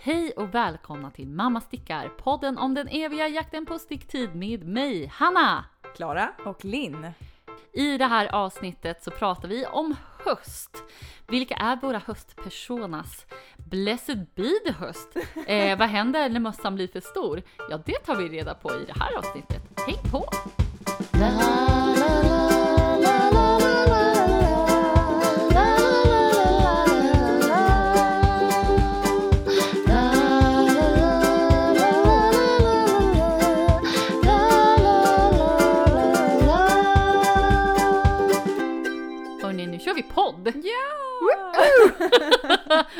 Hej och välkomna till Mamma Stickar, podden om den eviga jakten på sticktid med mig, Hanna! Klara och Linn. I det här avsnittet så pratar vi om höst. Vilka är våra höstpersonas? Blessed be the höst! Eh, vad händer när mössan blir för stor? Ja, det tar vi reda på i det här avsnittet. Häng på! Hörni, nu kör vi podd!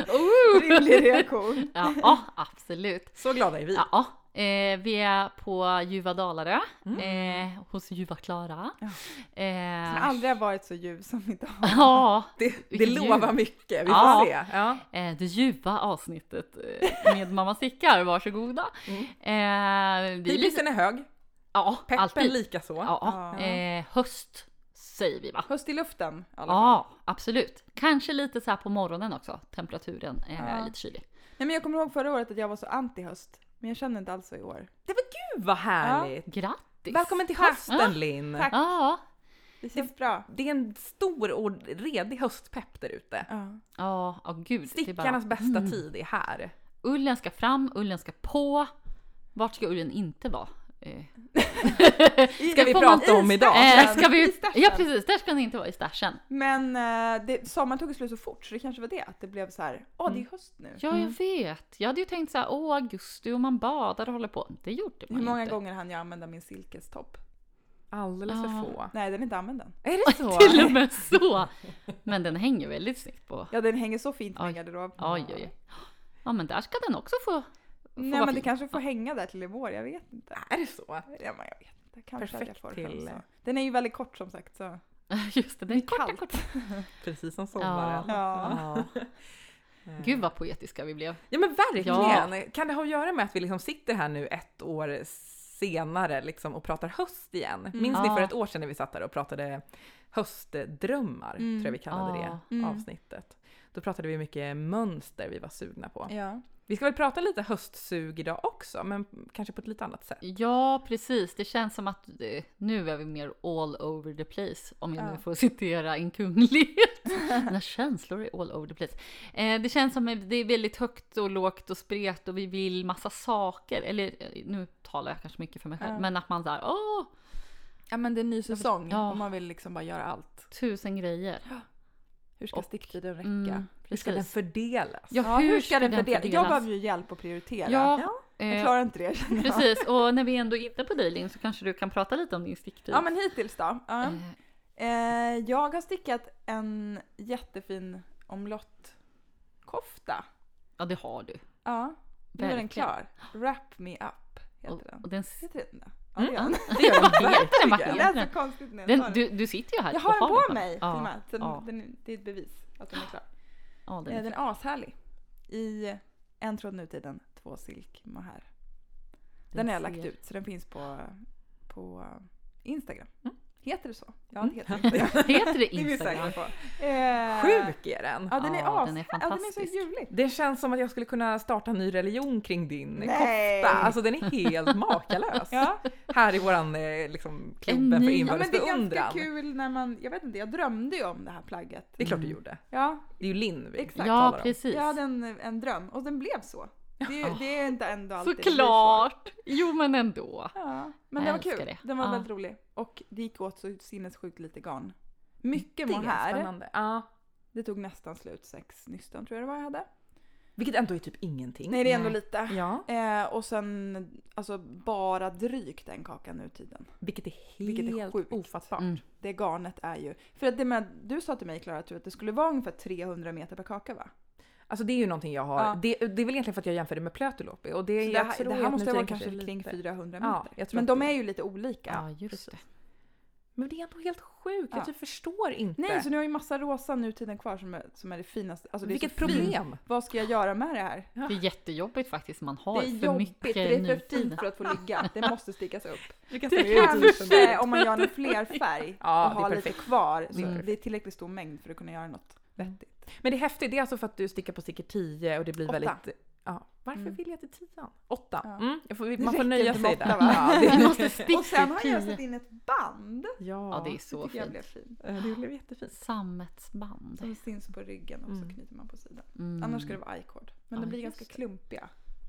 Ooh. Rimlig reaktion. Ja, ja, absolut. Så glada är vi. Ja, eh, vi är på Ljuva Dalarö eh, hos Ljuva Klara. Ja. Den har Eh, aldrig har varit så ljuv som idag. ja, Det, det Vilket lovar ljud. mycket, vi får Ja. se. Ja. eh, det ljuva avsnittet eh, med Mamma Stickar, varsågoda. Mm. Eh, vi är lite, Hybisen är hög, ja, peppen alltid. likaså. Ja, eh, höst säger vi va? Höst i luften i alla fall. Ja, absolut. Kanske lite så här på morgonen också, temperaturen eh, är Ja. lite kylig. Nej, men jag kommer ihåg förra året att jag var så anti höst. Men jag känner inte alls så i år. Gud vad härligt! Grattis! Välkommen till Tack. hösten Ja. Linn! Tack. Ja, Det känns bra. Det är en stor och redig höstpepp där ute. Ja. ja, ja gud. det är Stickarnas bara- bästa mm. tid är här. Ullen ska fram, ullen ska på. Vart ska ullen inte vara? Eh, Ska vi får prata man- om i idag? eh, ska i vi... stashen. Ja precis, där ska den inte vara i stashen. Men eh, det, sommaren tog slut så fort så det kanske var det. Att det blev så här, åh Mm. det är höst nu. Ja, jag vet. Jag hade ju tänkt så här, åh augusti och man badar och håller på. Det gjorde man Hur ju många inte. gånger hann jag använda min silkestopp? Alldeles Ja. för få. Nej, den är inte använd än. Är det så? Till och med så! Men den hänger väldigt snyggt på. Ja, den hänger så fint i Oj. min garderob. Oj, oj, oj. Ja, men där ska den också få, få Nej, vara men det fin. kanske får hänga där till i vår, jag vet inte. Är det så? Ja, men jag vet inte. Kanske att jag Perfekt får till- chansa. Den är ju väldigt kort som sagt. Så. Just det, den är korta, kallt. korta. Precis som sommaren. Eh. Ja. Gud vad poetiska vi blev. Ja men verkligen! Kan det ha att göra med att vi liksom sitter här nu ett år senare liksom och pratar höst igen? Minns ni Ja. för ett år sedan när vi satt där och pratade höstdrömmar, Mm. tror jag vi kallade Ja. det Mm. avsnittet. Då pratade vi mycket mönster vi var sugna på. Ja. Vi ska väl prata lite höstsug idag också, men kanske på ett lite annat sätt. Ja, precis. Det känns som att eh, nu är vi mer all over the place, om jag nu Ja. får citera en kunglighet. Mina känslor är all over the place. Eh, det känns som att det är väldigt högt och lågt och spret och vi vill massa saker. Eller eh, nu talar jag kanske mycket för mig själv, Ja. men att man såhär, åh, ja, men det är ny säsong Ja. och man vill liksom bara göra allt. tusen grejer. Hur ska Och- sticktiden räcka? Mm, Hur ska den precis. fördelas? Ja, Ja, hur, ska den fördelas? Jag fördelas? behöver ju hjälp att prioritera. Ja, Jag eh, klarar inte det känner jag. precis. Och när vi ändå är inne på dig Linn, så kanske du kan prata lite om din sticktid. Ja, men hittills då. Ja. Eh, Eh, jag har stickat en jättefin omlottkofta. ja, det har du. Ja, nu är Verkligen. den klar. Wrap me up Och, heter den. och den, s- Heter den det? Ja, det gör den. Det gör den Heter den verkligen. Det verkligen? är så konstigt när jag tar den, den. du, du sitter ju här Jag och har den på bara. mig Ja. till och med. så ja. Den, den, det är ett bevis att den är klar. Ja, den Eh, är Den är ashärlig. I en tråd nutiden, två silk mohair. Den typ. har jag lagt ser- ut så den finns på, på Instagram. Mm. Heter det så? Ja, Mm. det heter Instagram. Heter det det är vi Instagram? säkra på. Eh, Sjuk är den! Ja, den är Ja, ashärlig. den är Ja, den är så fantastisk. ljuvlig. Det känns som att jag skulle kunna starta en ny religion kring din Nej. kofta. Alltså den är helt makalös. Ja. Här i våran eh, liksom, klubben ny- för Ja, ja, inbördes men det är beundran. ganska kul när man, jag vet inte, jag drömde ju om det här plagget. Det är klart du gjorde. Ja, Det är ju Linn vi Mm. Exakt. Ja, talar om. precis. jag hade en, en dröm och den blev så. Det är, ju- Ja. det är inte ändå alltid det blir så. Såklart! Jo, men ändå. Ja, men Jag den var kul. älskar det. Den var Ja. väldigt rolig. Och det gick åt så sinnessjukt lite garn. Mycket Det är mohair. spännande. Ja. Det tog nästan slut, sex nystan tror jag det var jag hade. Vilket ändå är typ ingenting. Nej, det är ändå Nej. lite. Ja. Eh, och sen alltså bara drygt en kaka nu tiden. Vilket är helt Vilket är sjukt. ofattbart. Mm. Det garnet är ju. För att det med, du sa till mig Klara att du- att det skulle vara ungefär 300 meter per kaka va? Alltså det är ju någonting jag har. Ja. Det, det är väl egentligen för att jag jämför det med Plötulopi. Och det, Så är det, jag här, tror det här att måste nutiden vara kanske kanske är kring lite- 400 Ja, meter. jag tror men att de det- är ju lite olika. Ja, just precis. det. Men det är ändå helt sjukt. Ja. Jag typ förstår inte. Nej, så nu har ju massa rosa nutiden kvar som är, som är det finaste. Alltså det är så Vilket fint. problem! Vad ska jag göra med det här? Det är jättejobbigt faktiskt. Man har Det är för jobbigt, mycket det är för nutida. fint för att få ligga. Det måste stickas upp. Vilka Kanske om man gör en flerfärg och Ja, det är har lite perfekt. kvar. Det är Så perfekt. det är tillräckligt stor mängd för att kunna göra något vettigt. Men det är häftigt, det är alltså för att du stickar på sticker 10 och det blir Åtta. väldigt... Ja, Varför Mm. vill jag till tian? Åtta. Ja. Mm, jag får, Det man får räcker nöja inte sig med där. åtta, va? Ja, det, Vi måste sticka Och sen har jag till- satt in ett band. ja. Ja, det är så det tycker jag fint. blev fint. Eh, Det blev jättefint. Sammetsband. Som syns på ryggen och så Mm. knyter man på sidan. Mm. Annars ska det vara i-cord. Men Ja, de blir just ganska det. klumpiga.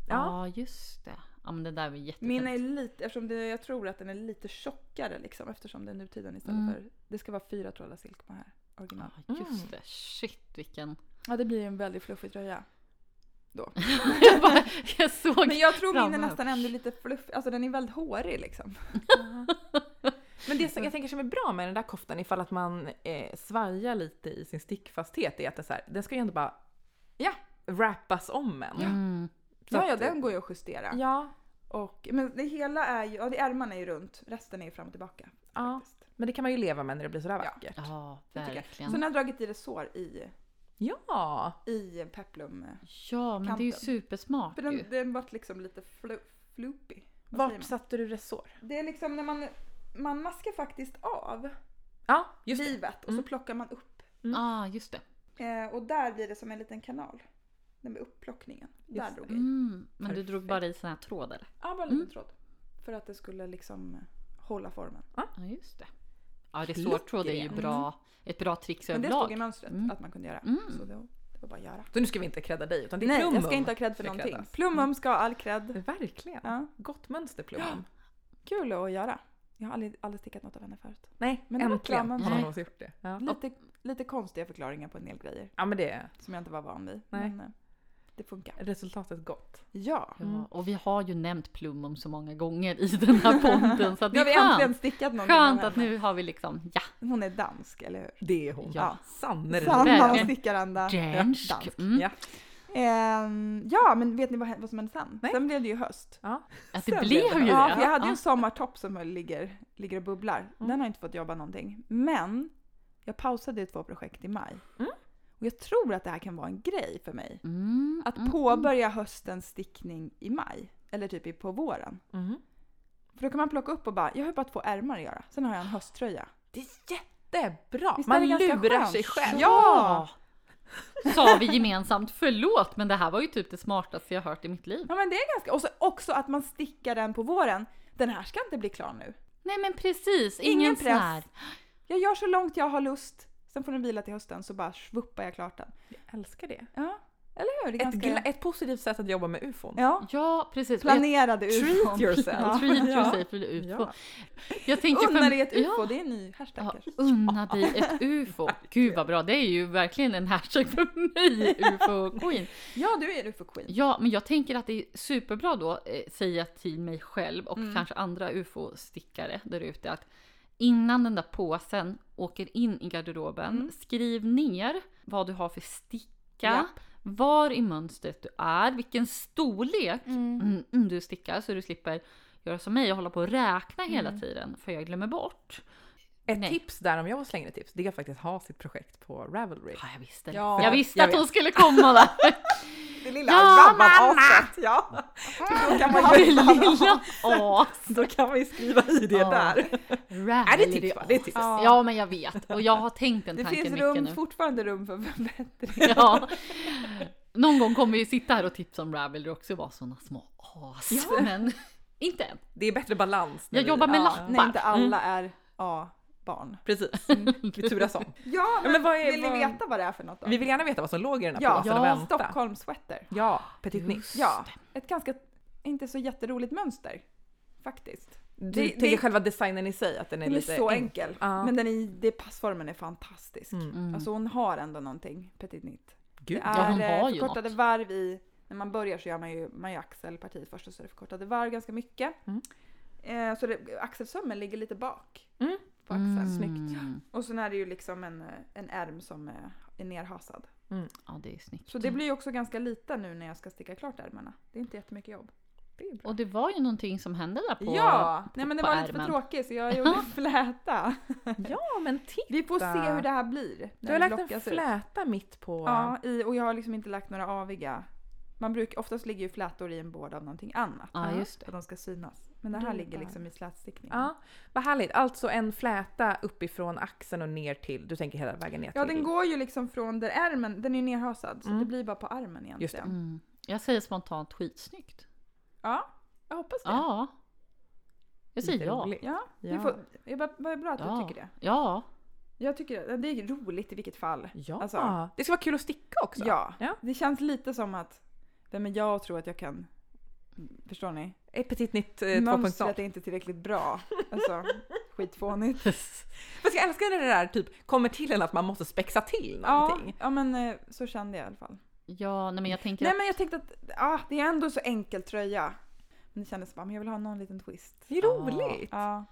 Ja. Ja, just det. Ja, men det där var jättefint. Min är lite, eftersom det, jag tror att den är lite tjockare liksom eftersom det är nutiden istället Mm. för, det ska vara fyra trådar silke på här. Original. Ja, just Mm. det. Shit vilken... Ja det blir en väldigt fluffig tröja. jag, bara, jag såg... Men jag tror min är Framöver. nästan ännu lite fluffig, alltså den är väldigt hårig liksom. Men Mm. det som jag tänker som är bra med den där koftan ifall att man eh, svajar lite i sin stickfasthet är att det så här, den ska ju ändå bara ja, wrappas om en. Mm. Så Ja, typ. ja att- den går ju att justera. typ. Ja, Och, men det hela är ju, ja det ärmarna är ju runt, resten är ju fram och tillbaka. Ja. Faktiskt. men det kan man ju leva med när det blir sådär Ja. vackert. Ja, Det tycker jag. verkligen. Sen har jag dragit i resår i, Ja! i peplum. eh, Ja, men det är ju kanten. supersmart För ju. Mm. den, den vart liksom lite flu, floopy. Vad säger Vart man? satte du resår? Det är liksom när man, man maskar faktiskt av Ja, just det. livet och Mm. så plockar man upp. ah, just det. Eh, och där blir det som en liten kanal. Den med upplockningen. Just där det. drog jag i. Mm. Men du Perfekt. drog bara i sån här tråd eller? Ja, bara en liten Mm. tråd. För att det skulle liksom eh, hålla formen. Ja, just det. Ja, resårtråd Klockren. är ju bra. Ett bra trix Mm. Men det stod överlag. i mönstret Mm. att man kunde göra. Mm. Så det, det var bara att göra. Så nu ska vi inte credda dig utan det är Nej, Plumum. jag ska inte ha cred för ska någonting. creddas. Mm. Plumum ska ha all cred. Verkligen. Ja. Gott mönster Plumum. Kul att göra. Jag har aldrig, aldrig stickat något av henne förut. Nej, men Men det var äntligen Plumum. har Nej. någon någonsin gjort det. Ja. Lite, lite konstiga förklaringar på en del grejer ja, men det är som jag inte var van vid. Nej. Men eh, det funkar. resultatet gott. Ja. Mm. Ja, och vi har ju nämnt Plumum så många gånger i den här podden så att det Nu har vi är äntligen skönt. stickat någonting av Skönt att henne. nu har vi liksom, ja, Hon är dansk, eller hur? Det är hon. Ja. Sannerligen. Sanna och Verkligen. stickaranda. dansk. Mm. Ja. Ehm, ja, men vet ni vad, hä- vad som hände sen? Nej. Sen blev det ju höst. Ja. Att det Sen blev ju blev det. det. Ja, för jag hade ju Ja. en sommartopp som höll- ligger, ligger och bubblar. Den har inte fått jobba någonting. Men jag pausade ju två projekt i maj. Mm. Och jag tror att det här kan vara en grej för mig. Mm, Att mm, påbörja höstens stickning i maj. Eller typ i- på våren. Mhm. För då kan man plocka upp och bara, jag har ju bara två ärmar att göra. Sen har jag en hösttröja. Det är jättebra! Visst är man det ganska lurar skönt? sig själv. Ja! Sa vi gemensamt, förlåt men det här var ju typ det smartaste jag hört i mitt liv. Ja men det är ganska, och så också att man stickar den på våren. Den här ska inte bli klar nu. Nej men precis, ingen, Ingen ingen press. press. Här. Jag gör så långt jag har lust. Sen får den vila till hösten så bara svuppar jag klart den. Jag älskar det. Ja, eller hur? Det är Ett, ganska... gla- ett positivt sätt att jobba med ufon. Ja, Ja precis. Och jag- planerade ufon. Treat yourself. Ja. Treat Ja. yourself till UFO. Ja. Jag tänkte för- Unna dig ett Ja. ufo, det är en ny hashtag Ja, kanske. unna dig ett UFO. Gud vad bra, det är ju verkligen en hashtag för mig, UFO-queen. Ja, du är en ufo-queen. Ja, men jag tänker att det är superbra då, eh, säga till mig själv och Mm. kanske andra ufo-stickare där ute att innan den där påsen åker in i garderoben, Mm. skriv ner vad du har för sticka, Japp. var i mönstret du är, vilken storlek mm. mm, du stickar så du slipper göra som mig och hålla på och räkna hela tiden för jag glömmer bort. Ett Nej. tips där, om jag måste slänga ett tips, det är att faktiskt ha sitt projekt på Ravelry. Ja, jag visste det. Ja, jag visste jag att vet. hon skulle komma där. Det lilla Ja, rabban-aset. Ja, Då kan man Det göra lilla as. Då kan vi skriva i det Ja. där. Är det är tips va? Det är tips. Ja. Ja, men jag vet. Och jag har tänkt den Det tanken finns mycket rum, nu. fortfarande rum för förbättring. Ja. Någon gång kommer vi sitta här och tipsa om Ravelry också och vara såna små as. Men inte än. Det är bättre balans. när Jag vi- jobbar med Ja. lappar. Mm. Nej, inte alla är A-barn. Precis, vi turas om. Ja, men, men vad är- vill vad- ni veta vad det är för något då? Vi vill gärna veta vad som låg i den här Ja, påsen och ja, vänta. Stockholm sweater. Ja, Petit Nix. Ja, ett ganska, inte så jätteroligt mönster. Faktiskt. Du Det- tänker det- själva designen i sig, att den är Den är lite så enkel. Ja. Men den är, det, passformen är fantastisk. Mm. Mm. Alltså hon har ändå någonting, petit nit. Gud, Det Ja, hon är har eh, ju förkortade något. varv i, när man börjar så gör man ju, man gör axelpartiet först och så är det förkortade varv ganska mycket. Mm. Eh, så det, axelsömmen ligger lite bak Mm. på axeln. snyggt. Mm. Och sen är det ju liksom en, eh, en ärm som eh, är nerhasad. Ja, det är snyggt. Så det blir ju också ganska lite nu när jag ska sticka klart ärmarna. Det är inte jättemycket jobb. det är bra. Och det var ju någonting som hände där på... ja! Nej men det på var lite för ärmen. tråkigt så jag gjorde en fläta. Ja, men titta! Vi får se hur det här blir. när Du har det lagt en blockas ut. fläta mitt på... Ja, i, och jag har liksom inte lagt några aviga. Man brukar, oftast ligger ju flätor i en båd av någonting annat. Ja, just För det. de ska synas. Men det här Det ligger där. liksom i slätstickningen. Ja, vad härligt. Alltså en fläta uppifrån axeln och ner till, du tänker hela vägen ner till... Ja, den går ju liksom från där ärmen, den är ju nerhasad så Mm. det blir bara på armen egentligen. Just det. Mm. Jag säger spontant skitsnyggt. Ja, jag hoppas det. Ja. Jag säger Lite ja. roligt. Ja, vi Ja. Får, jag bara, vad bra att Ja. du tycker det. Ja. Jag tycker det är roligt i vilket fall. Ja. Alltså- det ska vara kul att sticka också. Ja. Ja. Det känns lite som att, nej men jag tror att jag kan, förstår ni? Ett petit nytt eh, 2.0. Mönstret är inte tillräckligt bra. Alltså, skitfånigt. Fast jag älskar när det där typ kommer till en att man måste spexa till Ja, någonting. ja, men eh, så kände jag i alla fall. Ja, nej men jag tänker Nej men jag tänkte att, ah, det är ändå så enkel tröja. Men det kändes bara, men jag vill ha någon liten twist. Det är roligt! Ja.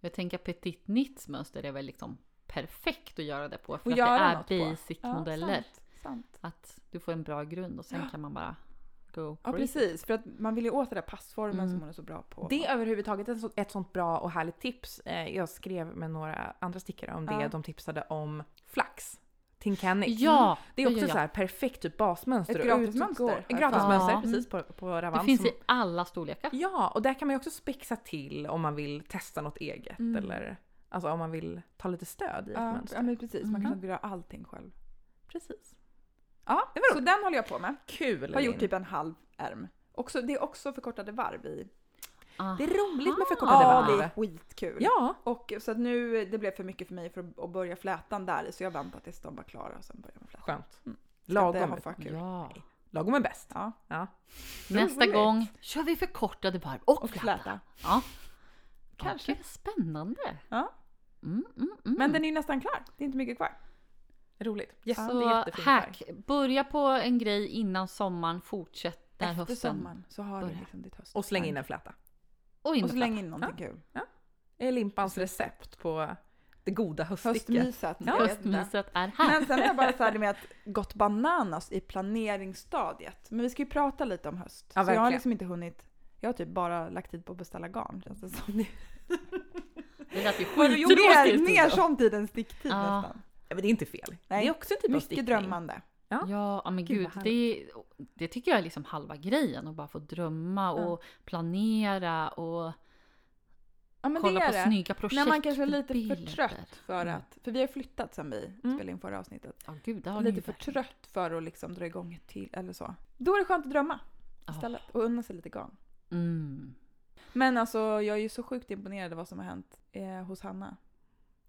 Jag tänker att Petit Nits mönster är väl liksom perfekt att göra det på. För Och att göra något det på. är basic Ja, modeller. Sant, sant. Att du får en bra grund och sen kan man bara go Ja for it. precis, för att man vill ju åt den där passformen Mm. som hon är så bra på. Det är överhuvudtaget ett så- ett sånt bra och härligt tips. Eh, Jag skrev med några andra stickare om det. Ja. De tipsade om flax. Tinkanix. Ja! Det är också ja, ja, ja. så här perfekt typ basmönster. Ett och gratis utmönster. mönster. Ett gratismönster, Ja. precis på, på Ravan. Det finns som- i alla storlekar. Ja, och där kan man ju också spexa till om man vill testa något eget. Mm. Eller alltså om man vill ta lite stöd i ett ja, mönster. ja men precis, man Mm. kanske inte vill ha allting själv. Precis. Mhm. Ja, det var så den håller jag på med. Kul! Har Linn. gjort typ en halv ärm. Också, det är också förkortade varv i. Ah. Det är roligt med förkortade Ja, varv. det är skitkul. Ja, Och, så att nu, det blev för mycket för mig för att, att börja flätan där i, så jag väntar tills de var klara och sen börjar man fläta. skönt. Ska inte ha Mm. Lagom. för kul. Ja. Lagom är bäst. Ja. Ja. Nästa Roligt. gång kör vi förkortade varv och, Och fläta. fläta. Ja. Kanske. Kanske. spännande. Ja. Mm, mm, mm. Men den är ju nästan klar. Det är inte mycket kvar. Roligt. Yes, det så är jättefin färg. hack, börja på en grej innan sommaren, fortsätt när Efter hösten. sommaren så har du börjar. liksom ditt höst. Och släng in en fläta. Och in Och med så länge in någonting kul. är Limpans recept på det goda höststicket. Höstmyset. fläta. jag vet inte. Höstmyset är här. Men sen är jag bara färdig med att gått bananas i planeringsstadiet. Men vi ska ju prata lite om höst. Ja, så jag har verkligen. liksom inte hunnit. Jag har typ bara lagt tid på att beställa garn känns det som. Det lät ju Mer, skittråkigt. mer sån tid än sticktid Ja. nästan. Ja, men det är inte fel. Nej. Det är också en typ av stickning. Mycket drömmande. Ja. Ja, ja, men Gud, gud, vad det, det tycker jag är liksom halva grejen. Att bara få drömma och planera och Ja men kolla det på är det. snygga projekt. När man kanske är lite för bilder. trött för Mm. att, för vi har flyttat sen vi Mm. spelade in förra avsnittet. Ja, gud, det har ni lite ju för verkligen. trött för att liksom dra igång ett till eller så. Då är det skönt att drömma Ja. istället och unna sig lite garn. Mm. Men alltså jag är ju så sjukt imponerad av vad som har hänt eh, hos Hanna.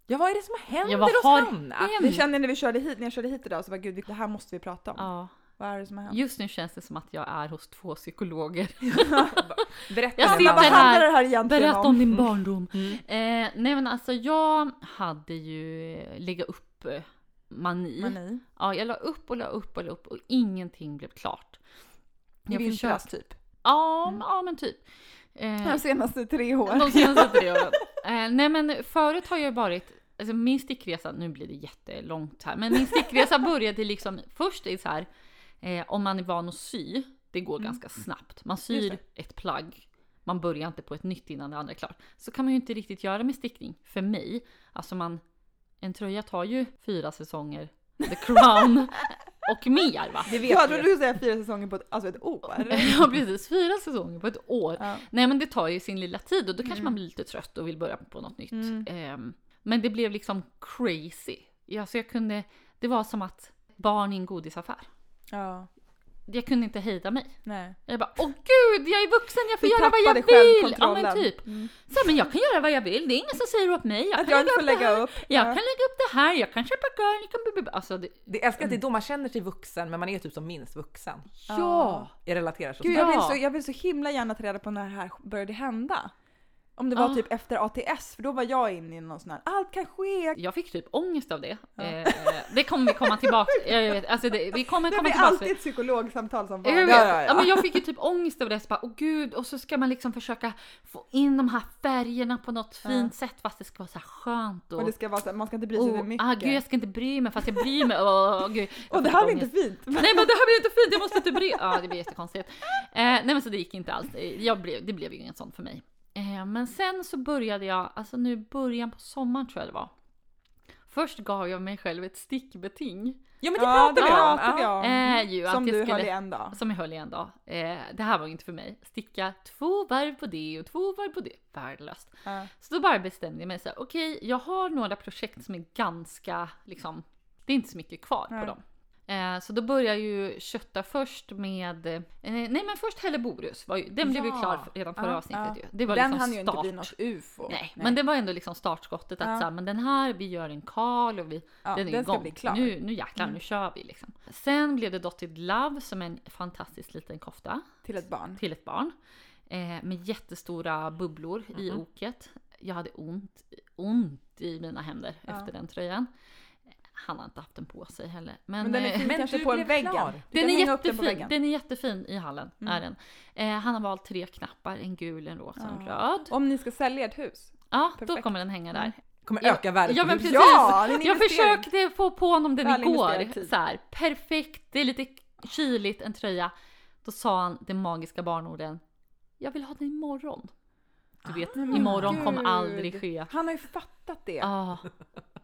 Ja, vad är det som händer Ja, vad hos har Hanna? hänt? Det kände jag när vi körde hit, när jag körde hit idag så var gud det här måste vi prata om. Ja. Vad är det som har hänt? Just nu känns det som att jag är hos två psykologer. Berätta Jag nu, sitter Hanna, vad Hanna. här. handlar det här egentligen Berätta om? om din barndom. Mm. Eh, nej men alltså jag hade ju eh, lägga upp eh, mani. Mani. Ja, jag la upp och la upp och la upp och ingenting blev klart. I Jag vintras försökte. typ. Ja, ja men typ. Eh, De senaste tre åren. De senaste tre åren. Eh, nej men förut har jag varit, alltså min stickresa, nu blir det jättelångt här, men min stickresa började liksom först i så här, eh, om man är van att sy, det går ganska snabbt. Man Just syr ett plagg, man börjar inte på ett nytt innan det andra är klart. Så kan man ju inte riktigt göra med stickning, för mig. Alltså man, en tröja tar ju fyra säsonger, the crown och mer va? Det vet vi. Jag trodde du skulle säga fyra säsonger på ett, alltså ett år. Ja precis, fyra säsonger på ett år. Ja. Nej men det tar ju sin lilla tid och då kanske man blir lite trött och vill börja på något nytt. Mm. Ehm, men det blev liksom crazy. Ja, så jag kunde, det var som att barn i en godisaffär. ja. Jag kunde inte hejda mig. Nej. Jag bara åh gud, jag är vuxen, jag får Du göra vad jag tappade vill! Ja självkontrollen. men typ. Mm. Så, här, men jag kan göra vad jag vill, det är ingen som säger åt mig. Jag Att kan, jag lägga, upp inte får det här. lägga upp. jag Ja. kan lägga upp det här, jag kan köpa garn, jag kan... bu- bu- bu- Alltså det, Det älskar att det är då man känner sig vuxen, men man är typ som minst vuxen. ja! Jag relaterar så Gud, Ja. jag, vill så, jag vill så himla gärna ta reda på när det här började hända. Om det var Ah. typ efter ATS, för då var jag inne i någon sån här allt kan ske. Jag fick typ ångest av det. Eh, det kommer vi komma tillbaka jag vet, alltså det, Vi kommer Det komma blir tillbaka alltid ett psykologsamtal som Jag, barn. vet, ja, men jag fick ju typ ångest över det. Så bara, åh gud, och så ska man liksom försöka få in de här färgerna på något Ja. fint sätt fast det ska vara så här skönt. Och, Och det ska vara så här, man ska inte bry sig för oh, mycket. ah, gud, jag ska inte bry mig fast jag bryr mig. Åh, gud. Jag och det fick här är ångest. inte fint. Nej men det här blir inte fint, jag måste inte bry Ja det blir jättekonstigt. Eh, nej men så det gick inte alls. Eh, Jag blev, det blev ju inget sånt för mig. Eh, men sen så började jag, alltså nu början på sommaren tror jag det var. Först gav jag mig själv ett stickbeting. Ja men det Ja, det pratar vi om. pratar vi Ja. om. Eh, ju, Som att jag du skulle, höll i en dag. som jag höll i en dag. Eh, det här var ju inte för mig. Sticka två varv på det och två varv på det. Värdelöst. Ja. Så då bara bestämde jag mig så här, okej, jag har några projekt som är ganska, liksom, det är inte så mycket kvar Nej. på dem. Eh, så då börjar ju kötta först med, eh, nej men först Helleborus, var ju, den blev ju Ja. klar förra- redan förra Ja, avsnittet ja. ju. Det var Den liksom hann ju start. inte bli något ufo. Nej, men det var ändå liksom startskottet att Ja. så här, men den här, vi gör en kal och vi, ja, den är den ska igång. bli klar. Nu, nu jäklar, Mm. nu kör vi liksom. Sen blev det Dotted Love som en fantastisk liten kofta Till ett barn. till ett barn. Eh, med jättestora bubblor i Mm-hmm. Mhm. oket. Jag hade ont, ont i mina händer Ja. efter den tröjan. Han har inte haft den på sig heller. Men, Men den är eh, men fin typ kanske du på blev väggen. klar. Du den kan är hänga upp den på jättefin. väggen. Den är jättefin i hallen. Mm. Är den. Eh, han har valt tre knappar. En gul, en rosa och en Ja. röd. Om ni ska sälja ett hus. Ja, då Ah. Perfekt. kommer den hänga där. Kommer Ja, öka värdet ja, på men huset. Precis. det är en Jag investering. försökte få på honom den Väl investerad igår. tid. Så här, perfekt, det är lite kyligt, en tröja. Då sa han de magiska barnorden. Jag vill ha den imorgon. Du vet, men imorgon kommer Ah, gud. aldrig ske. Han har ju fattat det. Ah,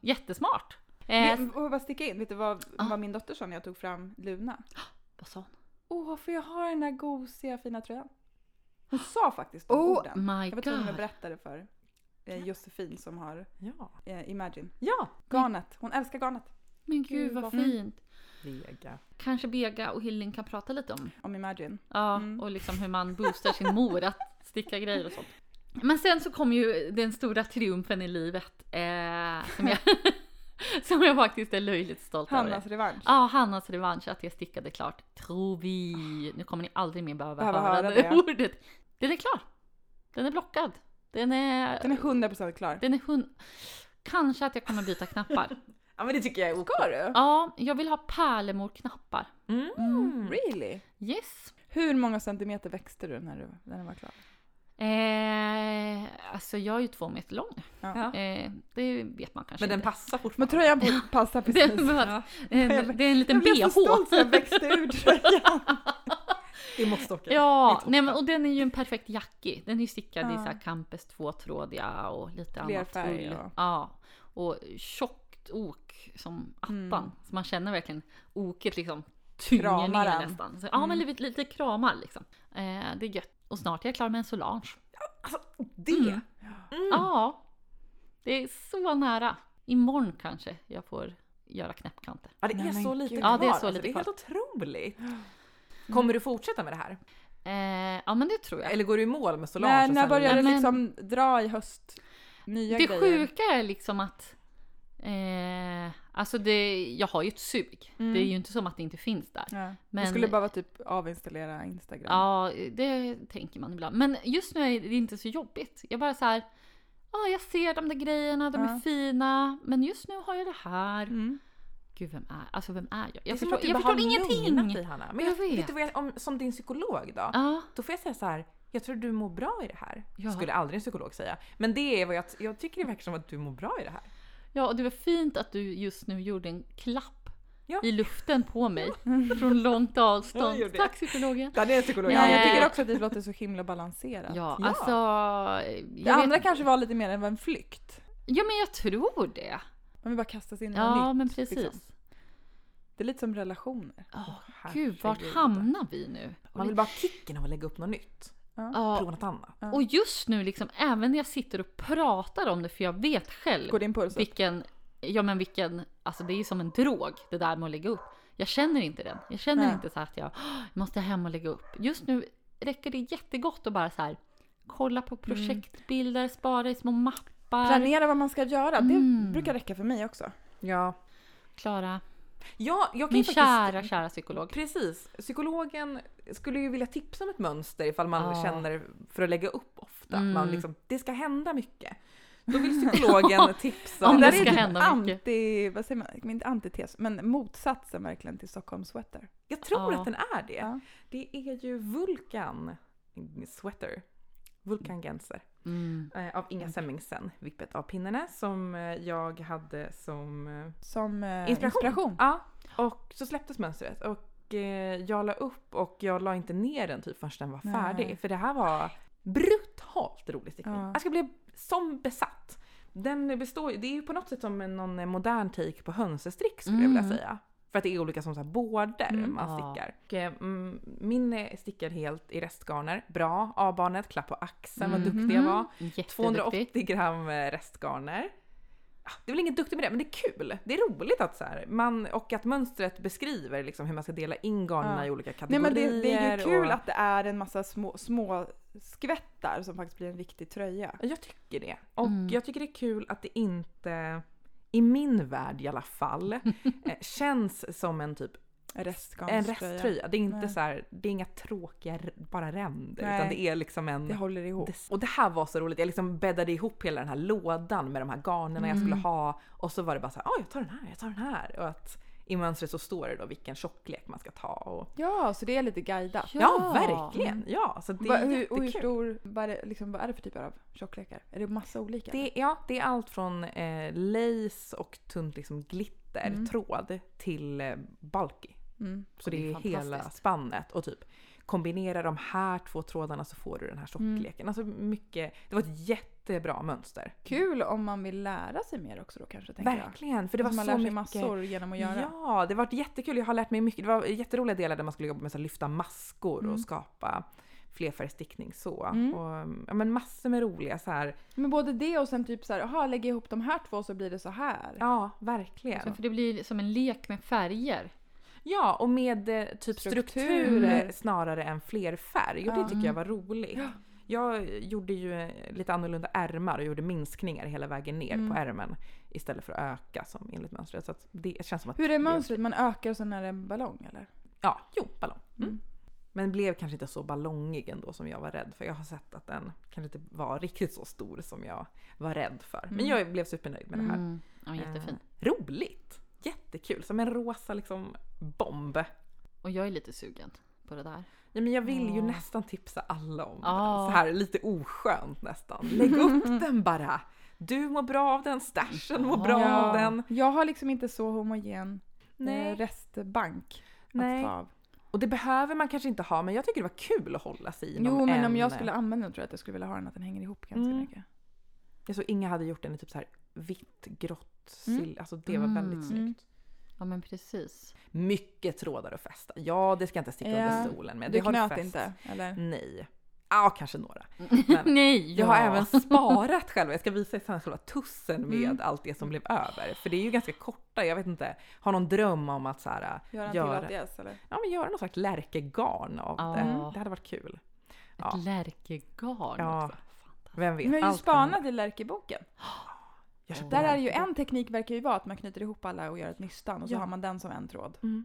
jättesmart. Eh, Vet, och bara sticka in, vet du vad, Ja. vad min dotter sa när jag tog fram Luna? vad sa hon? Åh, får jag ha den där gosiga fina tröjan? Hon sa faktiskt de Oh orden. My Jag var tvungen att God. berätta det för eh, Josefin som har Ja. eh, Mm. Imagine. ja. Garnet, hon älskar garnet. Men gud Gud, vad vad fint. Vega. Kanske Bega och Hilding kan prata lite om Om Imagine. Ja, Mm. och liksom hur man boostar sin mor att sticka grejer och sånt. Men sen så kom ju den stora triumfen i livet eh, som, jag, som jag faktiskt är löjligt stolt över. Hannas revansch. Ja, Hannas revansch att jag stickade klart. Tror vi. Nu kommer ni aldrig mer behöva Behöva höra höra det det. ordet. Den är klar. Den är blockad. Den är... Den är 100% klar. Den är hund... Kanske att jag kommer byta knappar. Ja men det tycker jag är ok. Ska du? Ja, jag vill ha pärlemorknappar. Mm. Really? Yes. Hur många centimeter växte du när, du, när den var klar? Eh, alltså jag är ju två meter lång. Ja. Eh, det vet man kanske Men den inte. passar Men fortfarande. tröjan på- passar precis. Den var- eh, det är en liten jag blev så bh. stolt när jag växte ur tröjan. Det måste åka. Ja, Mitt nej, men, och den är ju en perfekt jacki. Den är ju stickad i Ja. så här campus tvåtrådiga och lite Fler annat färger, ull. ja. Ja, och tjockt ok som attan. Mm. Så man känner verkligen oket liksom tynger Kramar ner den. nästan. Så, ja, men Mm. lite, lite kramar liksom. Eh, det är gött. Och snart är jag klar med en Solange. Alltså det. Mm. Ja, det är så nära. Imorgon kanske jag får göra knäppkanter. Ja det är Nej, men så lite gud. kvar. Ja, det är så alltså, lite det är helt otroligt. Kommer du fortsätta med det här? Eh, ja men det tror jag. Eller går du i mål med Solange? när och när sen- började Nej, det men- liksom dra i höst? Nya Det grejer? sjuka är liksom att eh, Alltså det, jag har ju ett sug. Mm. Det är ju inte som att det inte finns där. Ja. Men- Jag skulle behöva typ avinstallera Instagram. Ja, det tänker man ibland. Men just nu är det inte så jobbigt. Jag bara så här, ja jag ser de där grejerna, de är Ja. fina. Men just nu har jag det här. Mm. Gud, vem är, alltså vem är jag? Det är Jag som förstår, att du jag bara har förstår lugnat Dig, ingenting. Hanna. Men Jag jag vet. vet. du vad jag, om, som din psykolog då? Ja, Då får jag säga så här. Jag tror du mår bra i det här. Ja. Skulle aldrig en psykolog säga. Men det är vad jag, jag tycker det verkar som att du mår bra i det här. ja, och det var fint att du just nu gjorde en klapp Ja. i luften på mig från långt avstånd. gjorde det. Tack psykologen. Där är en psykolog. Ja, Nej. jag tycker också att det låter så himla balanserat. Ja, Ja. alltså. Det Jag andra vet, kanske var lite mer än en flykt. ja men jag tror det. Man vill bara kastas in i något Ja nytt. men precis. liksom. Det är lite som relationer. Åh, Åh, Gud vart herregud. hamnar vi nu? Man vill bara ha kicken av att lägga upp något nytt. Prova Ja, något annat. och just nu liksom även när jag sitter och pratar om det för jag vet själv Går din puls upp? vilken, ja men vilken, alltså det är ju som en drog det där med att lägga upp. Jag känner inte den. Jag känner Nej. inte så här att jag "Åh, jag måste hem och lägga upp. Just nu räcker det jättegott att bara så här kolla på Mm. projektbilder, spara i små mappar. Planera vad man ska göra. Det Mm. brukar räcka för mig också. Ja. Klara, Ja, jag kan ju min faktiskt... kära, kära psykolog. Precis. Psykologen skulle ju vilja tipsa om ett mönster ifall man Ja. känner för att lägga upp ofta. Att Man Mm. liksom, det ska hända mycket. Då vill psykologen tipsa Om Det det där ska är typ hända mycket. anti, vad säger man, inte antites, men motsatsen verkligen till Stockholm Sweater. Jag tror Ja. att den är det. Ja. Det är ju Vulkan Sweater. Vulkan Genser. Mm. Eh, av Inga Semmingsen, Vippet av pinnarna, som eh, jag hade som eh, Som eh, Inspiration. inspiration. Ja, och så släpptes mönstret och eh, jag la upp och jag la inte ner den typ förrän den var Nej. färdig. För det här var brutalt rolig stickning. Ja. Jag ska bli som besatt. Den består ju- det är ju på något sätt som en- någon modern take på hönsestrick skulle jag Mm. vilja säga. För att det är olika som så här bårder Mm. man Ja. stickar. Och, eh, mm, min är stickad helt i restgarner. Bra, Mm-hmm. Mm. A-barnet, klapp på axeln, vad duktig Mhm. jag var. Jätteduktig. 280 gram eh, restgarner. ah, det är väl ingen duktig med det, men det är kul. Det är roligt att så här, man, och att mönstret beskriver liksom hur man ska dela in garnerna Ja. i olika Nej kategorier. men det, det är ju kul och, att det är en massa små, små skvättar som faktiskt blir en riktig tröja. Jag tycker det. Och Mm. jag tycker det är kul att det inte, i min värld i alla fall, eh, känns som en typ En en restgarnströja. resttröja. Det är inte Nej. så här, det är inga tråkiga r- bara ränder Nej. utan det är liksom en... Det håller ihop. des- Och det här var så roligt, jag liksom bäddade ihop hela den här lådan med de här garnerna jag skulle Mm. ha och så var det bara så här, "Ah, jag tar den här, jag tar den här. Och att i mönstret så står det då vilken tjocklek man ska ta. Och... Ja, så det är lite guidat. Ja, verkligen! Ja, så det Va, är hur, och hur jättekul. stor, vad är, det, liksom, vad är det för typer av tjocklekar? Är det massa olika? Det, ja, det är allt från eh, lace och tunt liksom glitter, Mm. tråd till eh, bulky. Mm. Så det är det är hela fantastiskt. spannet och typ kombinera de här två trådarna så får du den här tjockleken. Alltså mycket, det var ett jättebra mönster. Kul om man vill lära sig mer också då kanske, tänker jag. Alltså, Verkligen, för det var man så lär sig mycket. massor genom att göra. Ja, det var jättekul. Jag har lärt mig mycket. Det var jätteroliga delar där man skulle jobba med att lyfta maskor Mm. och skapa flerfärgstickning så. Mm. Och, ja, men massor med roliga så här. Men både det och sen typ så här, jaha, lägger jag ihop de här två så blir det så här. Ja, verkligen. Så Alltså, för det blir som en lek med färger. Ja, och med eh, typ Strukturer. strukturer snarare än flerfärg. Och det Ja. tycker jag var roligt. Jag gjorde ju eh, lite annorlunda ärmar och gjorde minskningar hela vägen ner Mm. på ärmen istället för att öka som enligt mönstret. Så att det känns som att... Hur är det- mönstret? Man ökar och sen är det en ballong eller? Ja, jo, ballong. Mm. Mm. Men blev kanske inte så ballongig ändå som jag var rädd för. Jag har sett att den kanske inte var riktigt så stor som jag var rädd för. Men Mm. jag blev supernöjd med det här. Mm. Ja, jättefin. Eh, roligt! Jättekul! Som en rosa liksom bomb. Och jag är lite sugen på det där. Ja, men jag vill ju Ja. nästan tipsa alla om Ja. den. Så här lite oskönt nästan. Lägg upp den bara! Du mår bra av den, stashen mår bra Ja. av den. Jag har liksom inte så homogen eh, Nej. restbank Nej. att ta av. Och det behöver man kanske inte ha men jag tycker det var kul att hålla sig i någon Jo, men om en- jag skulle använda den tror jag att jag skulle vilja ha den att den hänger ihop ganska Mm. mycket. Jag såg Inga hade gjort den i typ så här vitt, grått, Mm. sill. Alltså det var Mm. väldigt snyggt. Ja men precis. Mycket trådar att fästa. Ja, det ska jag inte sticka Ja. under stolen med. Du det har knöt fäst. inte, eller? Nej. Ja, kanske några. Men- Nej! Jag har ja. även sparat själva, jag ska visa er sen själva tussen med Mm. allt det som blev över. För det är ju ganska korta, jag vet inte, har någon dröm om att så här, Gör den Gör- till ADS eller? ja, men göra någon slags lärkegarn av Ja. det. Det hade varit kul. Ja. Ett lärkegarn Ja. också. Fantastiskt. Vem vet? Vi har ju allt kan spanat i Lärkeboken. hända. Jag köpte Där den. är det ju en teknik verkar ju vara att man knyter ihop alla och gör ett nystan och så Ja. har man den som en tråd. Mm.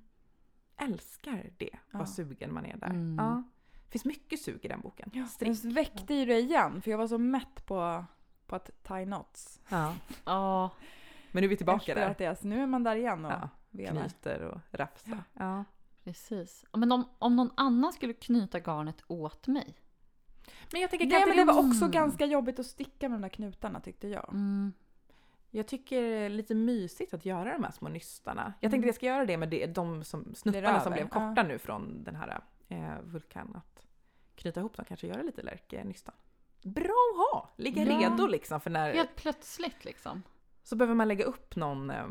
Älskar det, Ja. vad sugen man är där. Mm. Ja. finns mycket sug i den boken. Den Strick. väckte ju det igen för jag var så mätt på, på att tie knots. Ja. Ja. Men nu är vi tillbaka Efter där. ATS. Nu är man där igen och Ja. vevar. Knyter och rafsar. Ja. Precis. Ja, Men om, om någon annan skulle knyta garnet åt mig. Men jag tänker, kan Nej inte men det det var också Mm. ganska jobbigt att sticka med de där knutarna tyckte jag. Mm. Jag tycker det är lite mysigt att göra de här små nystarna. Jag tänkte Mm. att jag ska göra det med det, de som, Blir snuttarna över, som blev ja. korta nu från den här eh, vulkan. Att knyta ihop dem, kanske göra lite lärkenystan. Bra att ha! Ligga Ja. redo liksom för när... Helt plötsligt liksom. Så behöver man lägga upp någon eh,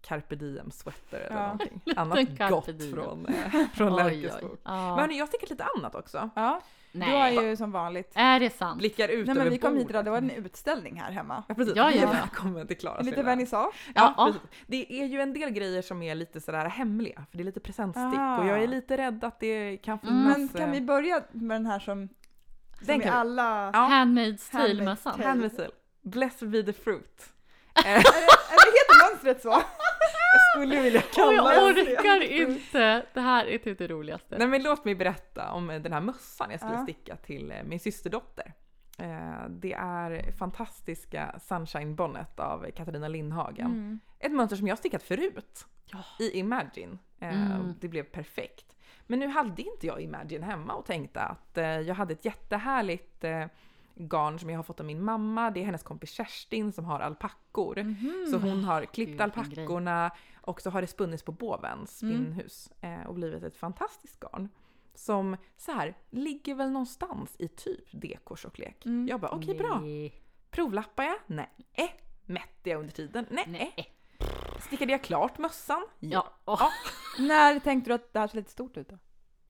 carpe diem sweater eller Ja. någonting. Lite Annat carpe gott diem. från, eh, från oj. Lärkesbok. Men Ja. hörni, jag sticker lite annat också. Ja, du har Nej. ju som vanligt. Är det sant? Blickar ut Nej över men vi kom hit bordet. idag, det var en utställning här hemma. Ja precis, Ja, Ni är ja. välkommen till Klaras En liten lilla- Mm. vernissage. Ja, Ja. precis. Det är ju en del grejer som är lite sådär hemliga, för det är lite presentstick Aha. och jag är lite rädd att det kan Mm. finnas... Ah. Men kan eh, vi börja med den här som, som Den vi kan vi- alla... Ja. Handmaid's Handmaid's tale-mössan. Tale. Handmissile. Blessed be the fruit. Är, det, är det heter mönstret så? Jag skulle vilja Och kalla jag det. orkar inte! Det här är typ det roligaste. Nej men låt mig berätta om eh, den här mössan jag skulle Ja. sticka till eh, min systerdotter. Eh, Det är fantastiska Sunshine Bonnet av Katarina Lindhagen. Ett mönster som jag stickat förut Mm. Ja. i Imagine. Eh, Mm. Det blev perfekt. Men nu hade inte jag Imagine hemma och tänkte att eh, jag hade ett jättehärligt eh, garn som jag har fått av min mamma. Det är hennes kompis Kerstin som har alpackor. Så hon har klippt Gud, vilken alpackorna och så har det spunnits på Bovens Mm. spinnhus eh, och blivit ett fantastiskt garn. Som så här ligger väl någonstans i typ dekortjocklek. Mm. Jag bara okej bra. Nej. Provlappar jag? Nej. Eh. Mätte jag under tiden? Nej. Eh. Nej. Stickade jag klart mössan? Ja. åh. Ja. När tänkte du att det här ser lite stort ut då?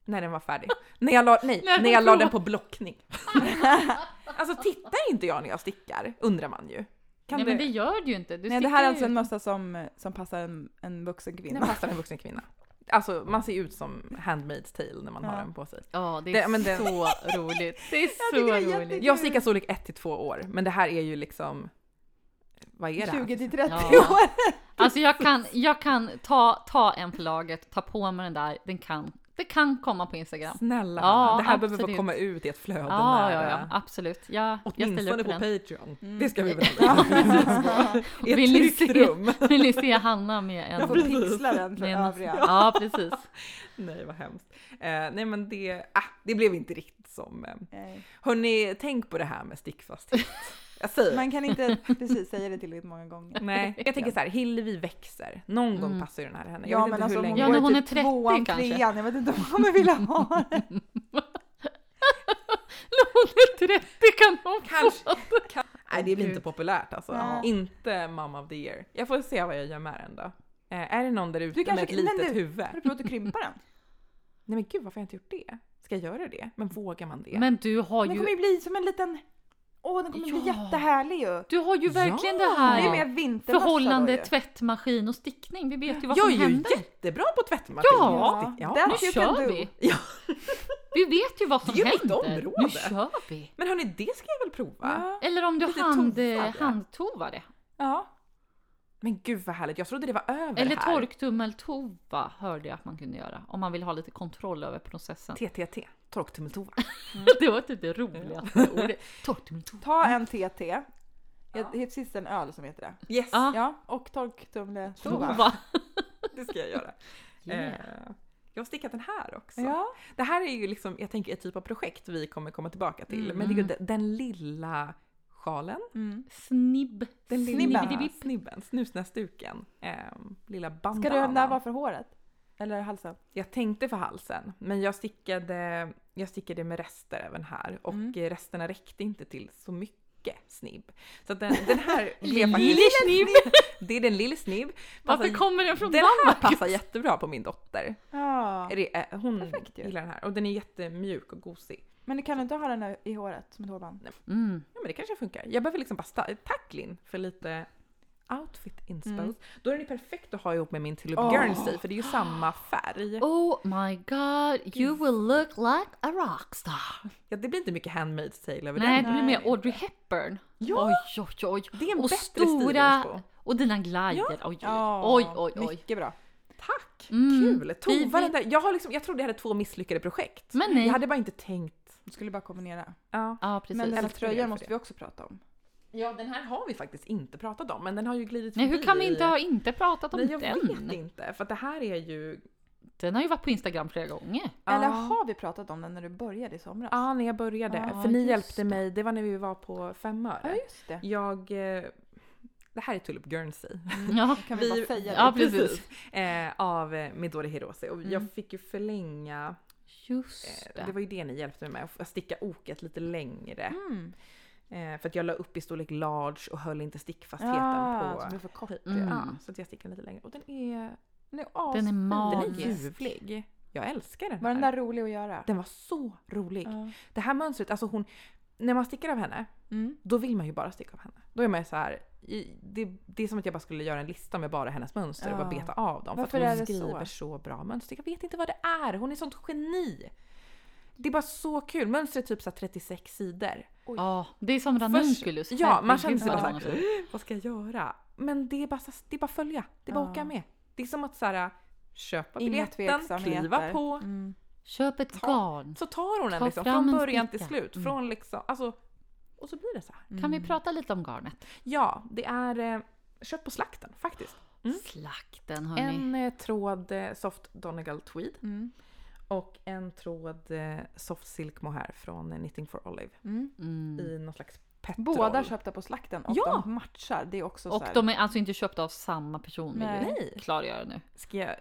När den var färdig. när jag la, nej, När när, den jag la kom. den på blockning. alltså tittar inte jag när jag stickar? Undrar man ju. Kan Nej du... men det gör du ju inte. Du Nej, det sticker här är ju alltså en ut. mössa som, som passar en, en vuxen Den kvinna. passar en vuxen kvinna. Alltså man ser ut som Handmaid's tale när man har Ja. den på sig. Ja det Det- är men det- så roligt. Det är tycker det är så roligt. jättekul. Jag stickar storlek 1 till 2 år, men det här är ju liksom... Vad är det? här? 20 till 30 Ja. år! Alltså jag kan, jag kan ta, ta en på laget, ta på mig den där, den kan, det kan komma på Instagram. Snälla, Ja, Hanna, det här behöver bara absolut. komma ut i ett flöde Ja, ja, nära. ja, absolut. Ja, jag ställer Åtminstone upp på på den. Mm. Patreon. Det ska vi väl Ja, I ett Vill ni tryggt se- rum. Vill ni se Hanna med en... Jag får pixla den för med en övriga. ja, precis. nej, vad hemskt. Eh, nej, men det, ah, det blev inte riktigt som... Eh. Nej. Hörni, tänk på det här med stickfasthet. Jag säger Man kan inte precis säga det tillräckligt många gånger. Nej, jag tänker så här, Hillevi växer. Någon gång passar ju den här henne. Jag Mm. Ja, vet men inte alltså, hur hon länge. Ja, går när hon i är 30 tvåan, kanske. trean. Jag vet inte om hon kommer vilja ha det. När hon är 30 kan hon Kanske. få- Alltså, Kan... Nej, det blir inte populärt alltså. Nej. Inte mom of the year. Jag får se vad jag gör med den då. Eh, är det någon där ute Du kanske- med ett litet men du- huvud? Har du provat att krympa den? Nej men gud, varför har jag inte gjort det? Ska jag göra det? Men vågar man det? Men du har Den kommer ju, ju bli som en liten... Åh, den kommer bli Ja. jättehärlig ju! du har ju verkligen Ja. det Det är ju här mer vintermössa förhållande då ju. tvättmaskin och stickning. Vi vet ju vad jag som är ju händer. jättebra på tvättmaskin. Ja. ja. Där- Nu You kör can do. vi! Ja. Vi vet ju vad som Det är mitt händer. område. Nu kör vi! Men hörni, det ska jag väl prova? Ja. Eller om du Lite hand, tovade. handtovar det. ja. Men gud vad härligt, jag trodde det var över Eller här. torktummeltova hörde jag att man kunde göra. Om man vill ha lite kontroll över processen. TTT, torktummeltova. Det var typ det roligaste ordet. Torktummeltova. Ta en TT. Jag, det heter sist en öl som heter det. Yes, Ja. Ja, och torktumle. Tova. det ska jag göra. Yeah. Eh, jag har stickat den här också. Ja. Det här är ju liksom, jag tänker ett typ av projekt vi kommer komma tillbaka till. Men det är ju den, den lilla sjalen. Mm. Snibb. Den Snibben. lilla Snibbidibipp. snibben, snusnäsduken. ehm, lilla bandanan. Ska den där vara för håret? Eller halsen? Jag tänkte för halsen, men jag stickade, jag stickade med rester även här och Mm. eh, resterna räckte inte till så mycket snibb. Så att den, den här blev faktiskt... Lille snibb. Det är den lille snibb. Varför Passar- kommer den från den här Danmark? passar jättebra på min dotter. Ja. Är det- eh, Hon Perfekt ju. gillar den här och den är jättemjuk och gosig. Men du kan du inte ha den i håret som ett hårband? Mm. Ja men det kanske funkar. Jag behöver liksom bara sta- tack Linn för lite outfit inspo. Mm. Då är den ju perfekt att ha ihop med min Tulip Åh. Guernsey för det är ju samma färg. Oh my god, you will look like a rockstar. Ja, det blir inte mycket Handmaid's Tale över Nej, den. det blir mer Audrey Hepburn. Ja. Oj, oj, oj. Det är en och bättre stora... stil Och dina glider. Oj, Ja. oj, oj. oj. Mycket bra. Tack! Mm. Kul! Vi- Tova vi- den där. Jag, har liksom, jag trodde jag hade två misslyckade projekt. Men nej. Jag hade bara inte tänkt. Du skulle bara kombinera. Ja. Ja, precis. Men den här Älskar det för tröjan måste det. vi också prata om. ja, den här har vi faktiskt inte pratat om men den har ju glidit Nej, förbi. hur kan vi inte ha inte pratat om Nej, jag vet den? inte. För att det här är ju... Den har ju varit på Instagram flera gånger. Eller Ja. har vi pratat om den när du började i somras? Ja, när jag började. Ja, för ni just hjälpte det. mig, det var när vi var på Femöre. Ja, just det. Jag... eh, Det här är Tulip Guernsey. Ja, Kan vi, bara säga ja, det? precis. Eh, av eh, Midori Hirose. Och Mm. jag fick ju förlänga, Just eh, det det. var ju det ni hjälpte mig med, att sticka oket lite längre. Mm. Eh, för att jag la upp i storlek large och höll inte stickfastheten Ja, på... som är för kort. Mm. Ja, så att jag stickade lite längre. Och den är... Den är, as- Den är den är magisk. ljuvlig. Jag älskar den Var här. den där rolig att göra? den var så rolig. Ja. Det här mönstret, alltså hon... När man stickar av henne, Mm. då vill man ju bara sticka av henne. Då är man ju så här, i- det, det är som att jag bara skulle göra en lista med bara hennes mönster och bara Ja. beta av dem. Varför för är att hon det skriver så? så? bra mönster. Jag vet inte vad det är. Hon är sånt geni. Det är bara så kul. Mönstret är typ så här 36 sidor. Ja, det är som ranunculus. Först- ja, man känner sig Herregud, bara vad så många- Vad ska jag göra? Men det är bara, så- det är bara följa. Det är bara Ja. åka med. Det är som att så här, köpa Inga biljetten, tveksamheter. kliva på. Mm. Köp ett Ta- garn. Så tar hon den Ta liksom fram från en början till sticka. slut. Mm. Från liksom, alltså, och så blir det så här. Mm. Kan vi prata lite om garnet? Ja, det är eh, kött på slakten faktiskt. Mm. Slakten hörni. En eh, tråd eh, soft Donegal tweed Mm. och en tråd eh, soft silk mohair från eh, Knitting for Olive Mm. Mm. i någon slags petrol. Båda köpta på slakten och Ja! de matchar. Det är också så Och här. de är alltså inte köpta av samma person vill Nej. vi Nej! klargöra nu. Ska jag eh,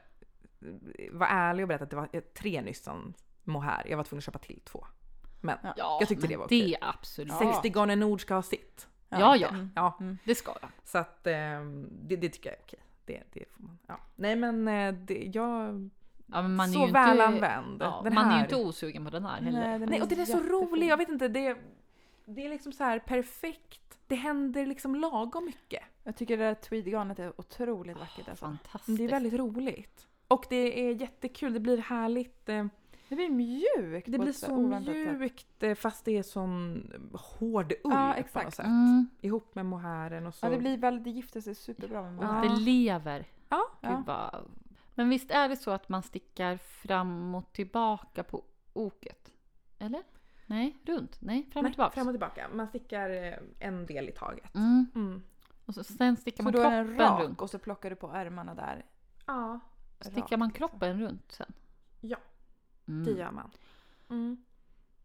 vara ärlig och berätta att det var eh, tre nystan mohair. Jag var tvungen att köpa till två. Ja, Jag tyckte men det var okej. det är absolut. Ja. 60 Garner Nord ska ha sitt. Ja, ja, Mm. Ja, det ska de. så att eh, det, det tycker jag är okej. Det, det får man. Ja. Nej men eh, det, jag... Ja, men man är så ju väl inte, använd. ja, Den man är ju här- inte osugen på den här heller. den Nej, och den är så jättefin. rolig. Jag vet inte, det, det är liksom så här perfekt det händer liksom lagom mycket. Jag tycker det där tweedgarnet är otroligt vackert alltså. Fantastiskt. Det är väldigt roligt. Och det är jättekul, det blir härligt. eh, Det blir mjukt Det på blir ett så oväntat sätt. mjukt eh, fast det är sån hård ull Ja, på exakt. något sätt. mm. Ihop med mohären och så. Ja, det blir väldigt, det gifter sig superbra med Och många. det lever. Ja. Gud, vad- Men visst är det så att man stickar fram och tillbaka på oket? Eller? Nej, runt? Nej, fram och Nej, tillbaka. fram och tillbaka. Man stickar eh, en del i taget. Mm. Mm. Och så, sen stickar Så man då är den kroppen rak runt. och så plockar du på ärmarna där. Ja, Stickar rakt, man liksom. kroppen runt sen? Ja. det Mm. gör man. Mm.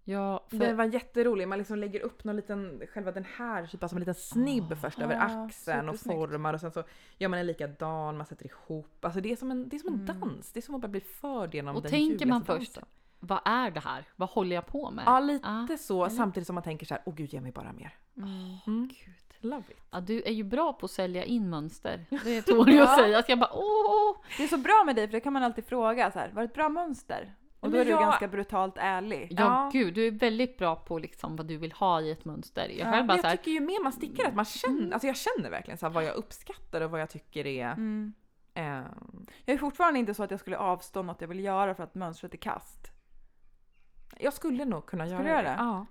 Ja, för, Den var jätterolig. Man liksom lägger upp någon liten, själva den här typ av som en liten snibb Ah. först över Ah, axeln och supersnyggt. formar och sen så gör man en likadan, man sätter ihop. Alltså det är som en, det är som en Mm. dans. Det är som att bara bli förd genom Och den tänker man ljuvligaste först? dansen. vad är det här? Vad håller jag på med? Ja, lite Ah. så. eller? Samtidigt som man tänker så här, åh gud ge mig bara mer. Mm. Mm. Gud. Love it. Ja, du är ju bra på att sälja in mönster. Det tål jag Ja. att säga. Så jag bara åh! Det är så bra med dig för det kan man alltid fråga så här, var det ett bra mönster? Och Men då är du jag- ganska brutalt ärlig. Ja, Ja. gud, du är väldigt bra på liksom vad du vill ha i ett mönster. Jag Ja, själv bara Men så här, Mm. jag tycker ju mer man stickar att man känner, alltså jag känner verkligen så här vad jag uppskattar och vad jag tycker är... Mm. Eh, Jag är fortfarande inte så att jag skulle avstå något jag vill göra för att mönstret är kast. jag skulle nog kunna Skulle göra du göra det? Ja,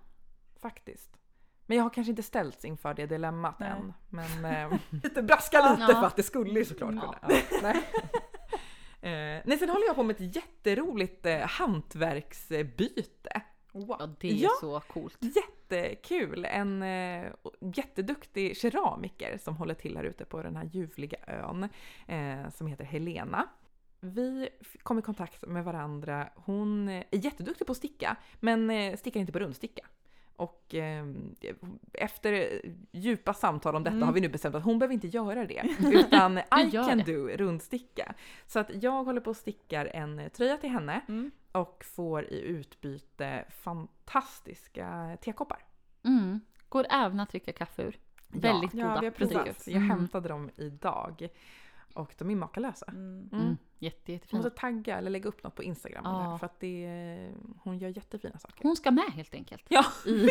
faktiskt. Men jag har kanske inte ställts inför det dilemmat Nej. än. Men eh, lite braska lite Ja. för att det skulle ju såklart Ja. kunna. Ja. Nej. Eh, nej, sen håller jag på med ett jätteroligt eh, hantverksbyte. ja Wow. det är Ja. så coolt. Jättekul! En eh, jätteduktig keramiker som håller till här ute på den här ljuvliga ön eh, som heter Helena. Vi f- kom i kontakt med varandra. Hon eh, är jätteduktig på att sticka, men eh, stickar inte på rundsticka. Och eh, efter eh, djupa samtal om detta Mm. har vi nu bestämt att hon behöver inte göra det, utan I gör can det. do rundsticka. Så att jag håller på och stickar en eh, tröja till henne Mm. och får i utbyte fantastiska tekoppar. Mm. Går även att dricka kaffe ur. Väldigt Ja, goda. vi har provat. precis. Jag Mm. hämtade dem idag och de är makalösa. Mm. Mm. Mm. Jätte, Jag jättefina. måste tagga eller lägga upp något på Instagram om Ja. det här, för att det, är- hon gör jättefina saker. Hon ska med helt enkelt. Ja. I,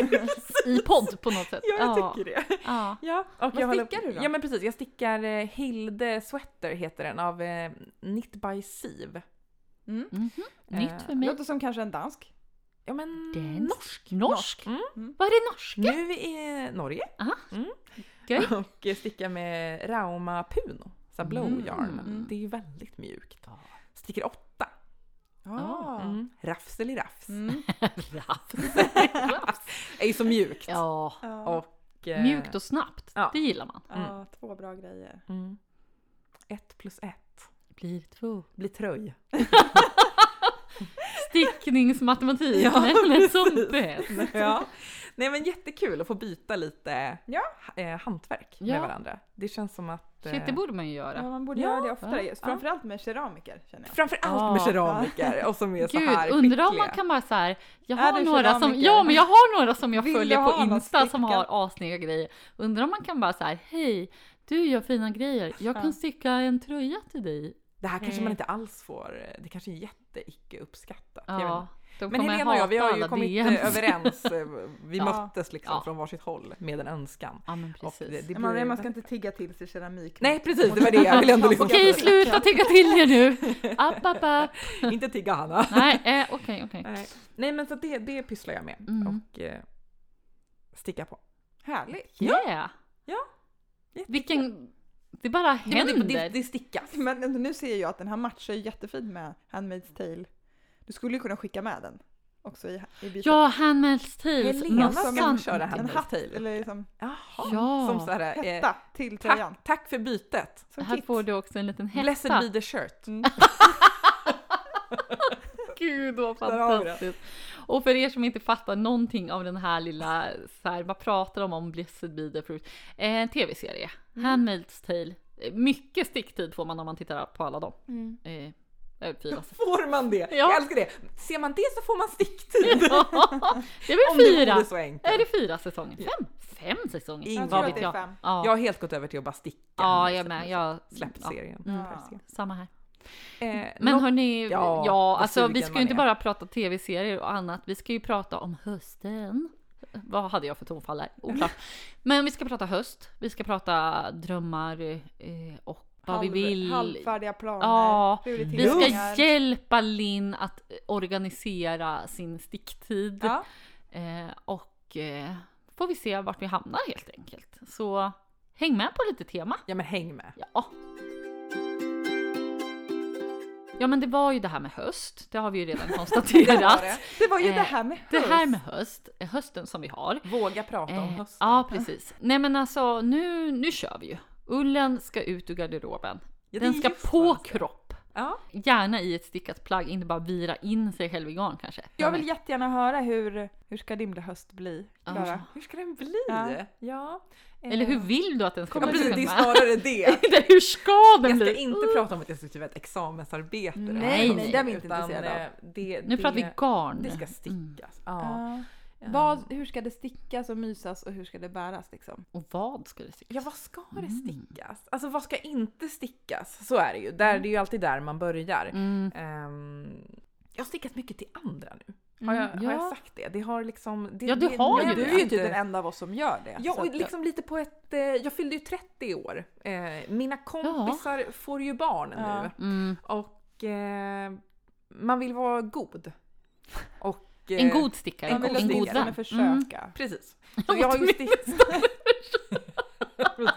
I podd på något sätt. Ja, jag tycker det. Ja. Ja. Och Vad jag håller- stickar du då? Ja men precis, jag stickar eh, Hilde Sweater heter den av eh, Knit by Siv. Mm. Mhm. Eh, Nytt för mig. Låter som kanske en dansk. Ja men Den- norsk. Norsk. Mm. Vad är det norska? Nu är Norge. Aha. Mm. Gött. Och eh, sticka med Rauma Puno. Så här blow Mm. yarn. Mm. Det är ju väldigt mjukt. Sticker åtta. Ah. Mm. Rafselirafs. Mm. Raps. Är ju så mjukt. ja, Ja. Och, eh, mjukt och snabbt. Ja. Det gillar man. Ja, två bra grejer. Mm. Ett plus ett Blir två. blir tröj. Stickningsmatematik. Ja, Nämligen som precis. bäst. Ja. Nej men jättekul att få byta lite Ja. ha- eh, hantverk Ja. med varandra. Det känns som att... Shit, det eh, borde man ju göra. Ja, man borde Ja, göra det oftare. ja. Framförallt med keramiker känner jag. Framförallt Ja. med keramiker och som är så Alltså, här Gud, undrar om man skickliga. kan bara så här, jag Är har du några som, keramiker? ja men jag har några som jag Vill följer du på ha något Insta som stickat? har assnygga grejer. Undrar om man kan bara så här, hej, du gör fina grejer, jag kan Ja. sticka en tröja till dig. Det här kanske Nej. man inte alls får... Det kanske är jätte icke uppskattat. Jag vet inte. Ja, de Men kommer Helena och jag, vi hata har ju alla kommit eh, DMs. överens. eh, Vi Ja. möttes liksom Ja. från varsitt håll med en önskan. Ja men Och precis. det Man, blir- man ska inte tigga till sig keramik. Nej precis, det var det jag ville ändå liksom. Okej, sluta tycka till er nu! App, app, app. Inte tigga Hanna. Nej, eh, okej, okej. Nej. Nej men så det, det pysslar jag med Mm. och eh, sticka på. Härligt. Yeah! Ja. Vilken... Det bara Ja, men händer. det, det, det stickas. Men nu ser jag att den här matchar ju jättefint med Handmaid's Tale. Du skulle ju kunna skicka med den också i, i bytet. Ja, Handmaid's Tales, Helena ska mössan. köra en Handmaid's hatt Tale. eller liksom Jaha. Ja. Som så här, eh, hetta till tröjan. tack, tack för bytet. Som Här kit. får du också en liten Blessed hetta. be the shirt. Mm. Gud vad Där har vi det. fantastiskt! Och för er som inte fattar någonting av den här lilla, så här, vad pratar de om Blessed be the fruit? Eh, En tv-serie, Handmaid's Tale. Eh, Mycket sticktid får man om man tittar på alla dem. Eh, eh, fyra. Får man det? Jag älskar det. Ser man det så får man sticktid. det är Om väl det fyra? vore så enkelt. Är det fyra säsonger? Fem? Fem säsonger? Ingen Jag Vad tror vet att det är jag? fem. Ja, Jag har helt gått över till att bara sticka. ja jag med. Jag, Släppt ja, serien. Mm. för att se. samma här. Eh, Men något- hörni, ja, Ja, ja vad alltså vi sugen ska man ju inte är. bara prata tv-serier och annat. Vi ska ju prata om hösten. Vad hade jag för tonfall där? Oklart. Men vi ska prata höst, vi ska prata drömmar eh, och vad Halv- vi vill. Halvfärdiga planer. Ja, Vi ska prioriteringar. hjälpa Linn att organisera sin sticktid. Ja. Eh, och eh, får vi se vart vi hamnar helt enkelt. Så häng med på lite tema. Ja men häng med. Ja. Ja men det var ju det här med höst, det har vi ju redan Det var konstaterat. det. Det var ju Eh, det här med höst. det här med höst, eh, hösten som vi har. Våga prata om Eh, hösten. ja precis. Nej men alltså nu, nu kör vi ju. Ullen ska ut ur garderoben. Ja, det Den är ska just på vad jag ska- kropp. Ja. Gärna i ett stickat plagg, inte bara vira in sig själv i garn kanske. Jag vill jättegärna höra hur, hur ska din höst bli? Klara? Ja. Hur ska den bli? Ja. Ja. Eller hur vill du att den ska Ja, precis, det är Vilma? snarare det. Eller hur ska den Jag ska bli? inte prata om att jag ska skriva ett examensarbete. Nej, eller nej, någonting, det är vi inte utan, intresserade eh, Det, Nu pratar vi Mm. det, garn. det ska stickas. Ja. Ja. Ja. Eh, Vad, hur ska det stickas och mysas och hur ska det bäras liksom? Och vad ska det se ut? Ja, vad ska Mm. det stickas? Alltså vad ska inte stickas? Så är det ju. Där, det är ju alltid där man börjar. Mm. Ehm, jag har stickat mycket till andra nu. Mm, Har jag, har ja. jag sagt det? det, har liksom, det Ja, du det- har det- ju Men det. du är ju typ den enda av oss som gör det. Alltså, Ja, så och att- liksom lite på ett... eh, Jag fyllde ju 30 i år. Eh, Mina kompisar får ju barn Ja. nu. Mm. Och eh, man vill vara god. Och, En eh, god stickare, en man en, vill god god, att sticka, åtminstone vän. Mm. försöka. Precis. Så jag har ju stick...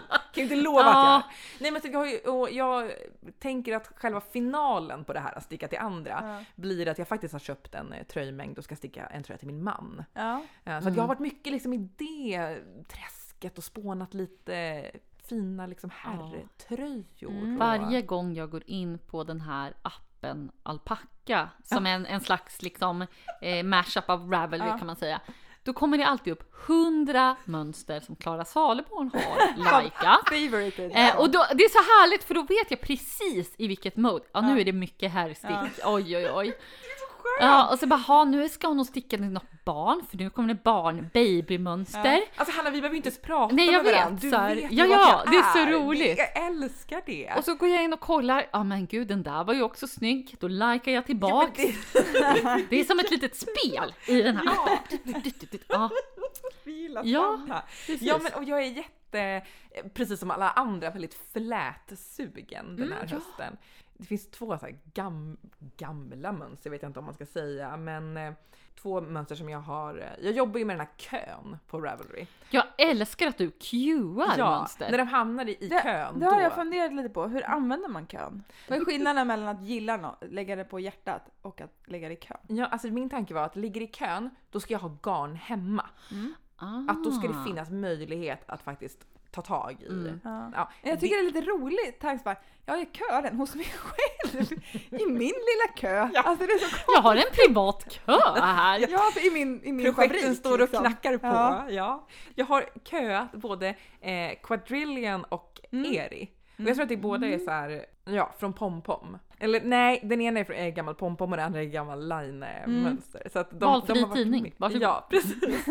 kan ju inte lova att jag Ja. är. Nej men så jag, har ju, och jag tänker att själva finalen på det här att sticka till andra Ja. blir att jag faktiskt har köpt en eh, tröjmängd och ska sticka en tröja till min man. Ja. Eh, Så att Mm. jag har varit mycket liksom i det träsket och spånat lite fina liksom herrtröjor. och- Mm. Varje gång jag går in på den här appen Alpaca som är en, en slags liksom eh, mashup av Ravelry Ja. kan man säga. Då kommer det alltid upp 100 mönster som Klara Saleborn har likat. Favorited. Eh, och då, det är så härligt för då vet jag precis i vilket mode. Ja nu Ja. är det mycket härstick. Oj oj oj. Ja, och så bara, ha, nu ska hon nog sticka till något barn för nu kommer det barn babymönster. Alltså Hanna vi behöver inte ens prata Nej, jag med vet, varandra. Du så här- vet ja, ju vad ja, jag det är så roligt. Jag älskar det. Och så går jag in och kollar, ja men gud den där var ju också snygg. Då likar jag Ja, men tillbaks. det- det... är som ett litet spel i den här Ja. appen. Ja, Vi gillar Ja, samma. precis. Ja, men och jag är jätte, precis som alla andra, väldigt flätsugen Mm, den här hösten. Det finns två så här gam, gamla mönster, vet jag inte om man ska säga, men eh, två mönster som jag har. eh, Jag jobbar ju med den här kön på Ravelry. Jag älskar att du cuear mönster. när de hamnar i, i kön Det har då. jag funderat lite på. Hur använder man kön? Vad är skillnaden mellan att gilla något, lägga det på hjärtat och att lägga det i kön? Ja, alltså min tanke var att ligger i kön, då ska jag ha garn hemma. Att då ska det Ah. finnas möjlighet att faktiskt ta tag i. Mm. Ja. Ja, Jag tycker det är lite roligt tanke bara, jag är i kören hos mig själv. I min lilla kö. Alltså det är så Jag har en privat kö här. Ja, för i min, i min projekten fabrik. står och liksom. knackar på. Ja. Ja. Jag har köat både eh, Quadrillion och Mm. Eri. Och jag tror att det båda är så här, ja, från pompom. Eller nej, den ena är från är gammal pompom och den andra är gammal line-mönster. Så att de, Valfri de har varit tidning. med- Varsågod. Ja, precis.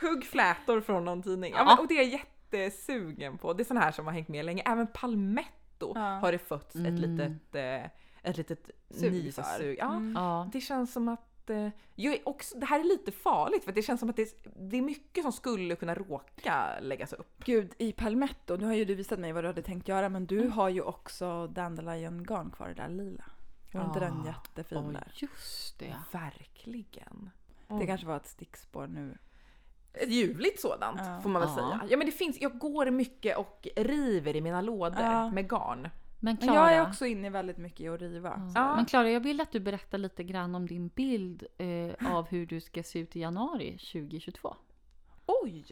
Hugg flätor från någon tidning. Ja, Ja. men, och det är jag jättesugen på. Det är sådana här som har hängt med länge. Även Palmetto Ja. har det fötts Mm. ett litet, eh, ett litet Sug för. nysug. Ja, Mm. Ja. det känns som att eh, jag är också, det här är lite farligt för att det känns som att det är, det är mycket som skulle kunna råka läggas upp. Gud, i Palmetto, nu har ju du visat mig vad du hade tänkt göra men du har ju också dandelion-garn kvar, det där lila. Var inte den Ah, jättefin Oj, där? just det. Verkligen. Det oj. kanske var ett stickspår nu. Ett ljuvligt sådant Ja. får man väl Ja. säga. Ja men det finns, jag går mycket och river i mina lådor Ja. med garn. Men Men jag är Klara, Ah. också inne väldigt mycket i att riva. Ja. Ja. Men Klara, jag vill att du berättar lite grann om din bild eh, av hur du ska se ut i januari 2022. Oj!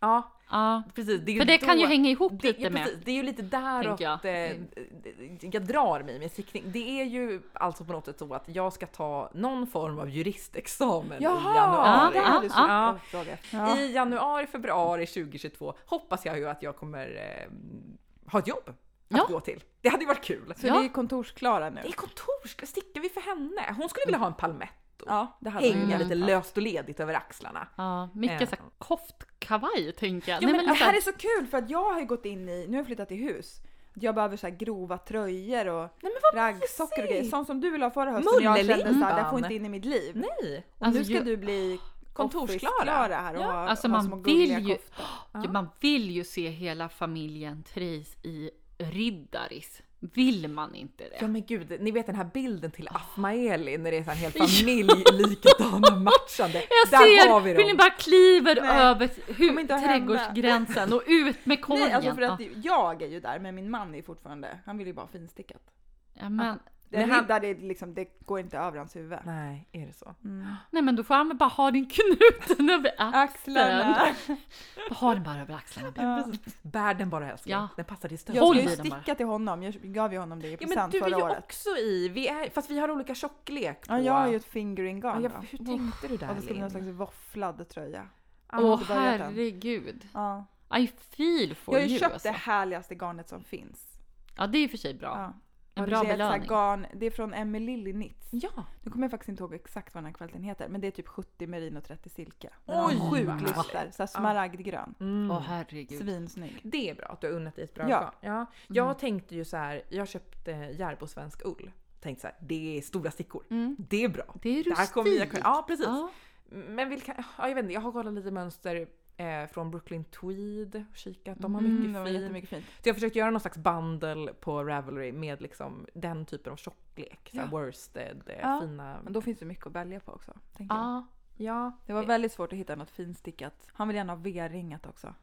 Ja Ja, precis. är ju för det kan då- ju hänga ihop det, lite ja, med. precis, det är ju lite däråt tänker jag. Mm. jag. Eh, jag drar mig med siktning. Det är ju alltså på något sätt så att jag ska ta någon form av juristexamen Jaha! i januari. Det hade du Ja, så Ah, ja. ja. fråga efter. Ja. I januari, februari 2022 hoppas jag ju att jag kommer eh, ha ett jobb att Ja. gå till. Det hade ju varit kul. Så Ja. det är kontorsklara nu? Det är kontor, ska- stickar vi för henne? Hon skulle vilja ha en palmetto. Ja, det hade Hänga jag. lite löst och ledigt över axlarna. Ja, mycket Eh. så här koftkavaj tänker jag. liksom, Ja, men alltså- det lite så här är så kul för att jag har ju gått in i, nu har jag flyttat till hus, jag behöver så här grova tröjor och Nej men raggsockor och grejer. Sånt som du ville ha förra hösten. Jag kände såhär, det Mullelimpan. får inte in i mitt liv. Nej! Och Alltså, nu ska ju- du bli Kontorsklara. Office-Klara här och Ja. ha, Alltså, ha man små vill gulliga ju- koftor. Ja, Man vill ju se hela familjen Therese i Riddaris. Vill man inte Ja det? men gud, ni vet den här bilden till Afmaeli när det är så här en hel familj likadana matchande. Jag Där ser har vi hur ni dem! bara kliver Nej, över kommer hu- inte att hända. trädgårdsgränsen och ut med korgen. Nej, alltså för Ja. att jag är ju där men min man är fortfarande, han vill ju bara ha finstickat. ja, men, Det, Men han- riddar, det, liksom, det går inte över hans huvud. Nej, är det så? Mm. nej men då får han väl bara ha den knuten över axlarna. Axlarna. Bara Ha den bara över axlarna. Ja. Bär den bara älskling, Ja. den passar till stöd. Jag Håll ska ju i den bara. sticka till honom, jag gav ju honom det i Ja present men du är förra ju året. också i, vi är, fast vi har olika tjocklek på... Ja, jag har ju ett fingering Ja, garn jag, då. hur tänkte du Och där det ska bli Linn? någon slags våfflad tröja. Ja, Åh inte börjat än. herregud. Ja. I feel for Jag har ju you köpt alltså. det härligaste garnet som finns. Ja det är i och för sig bra. En Och bra det är ett så här belöning. garn, det är från Emily Linnitz. Ja! Nu kommer jag faktiskt inte ihåg exakt vad den här kvällen heter, men det är typ 70 merino 30 silke. Den Oj, har sju vad glister, såhär smaragdgrön. Mm. Åh herregud. Svinsnygg. Det är bra att du har unnat dig ett bra Ja. garn. Ja. Jag tänkte ju så här, jag köpte Järbo svensk ull. Tänkte så här, det är stora stickor. Det är bra. Det är Där kommer jag kunna, rustikt. ja precis. Ja. Men vilka, ja, jag vet inte, jag har kollat lite mönster eh, från Brooklyn Tweed och kikat. De har mycket Mm, de är fint. jättemycket fint. Så jag försökte göra någon slags bundle på Ravelry med liksom den typen av tjocklek. Så här Ja. worsted, eh, Ja. fina. Men då finns det mycket att välja på också. Tänker jag. Ja. Ja. Det var väldigt svårt att hitta något finstickat. Han vill gärna ha V-ringat också.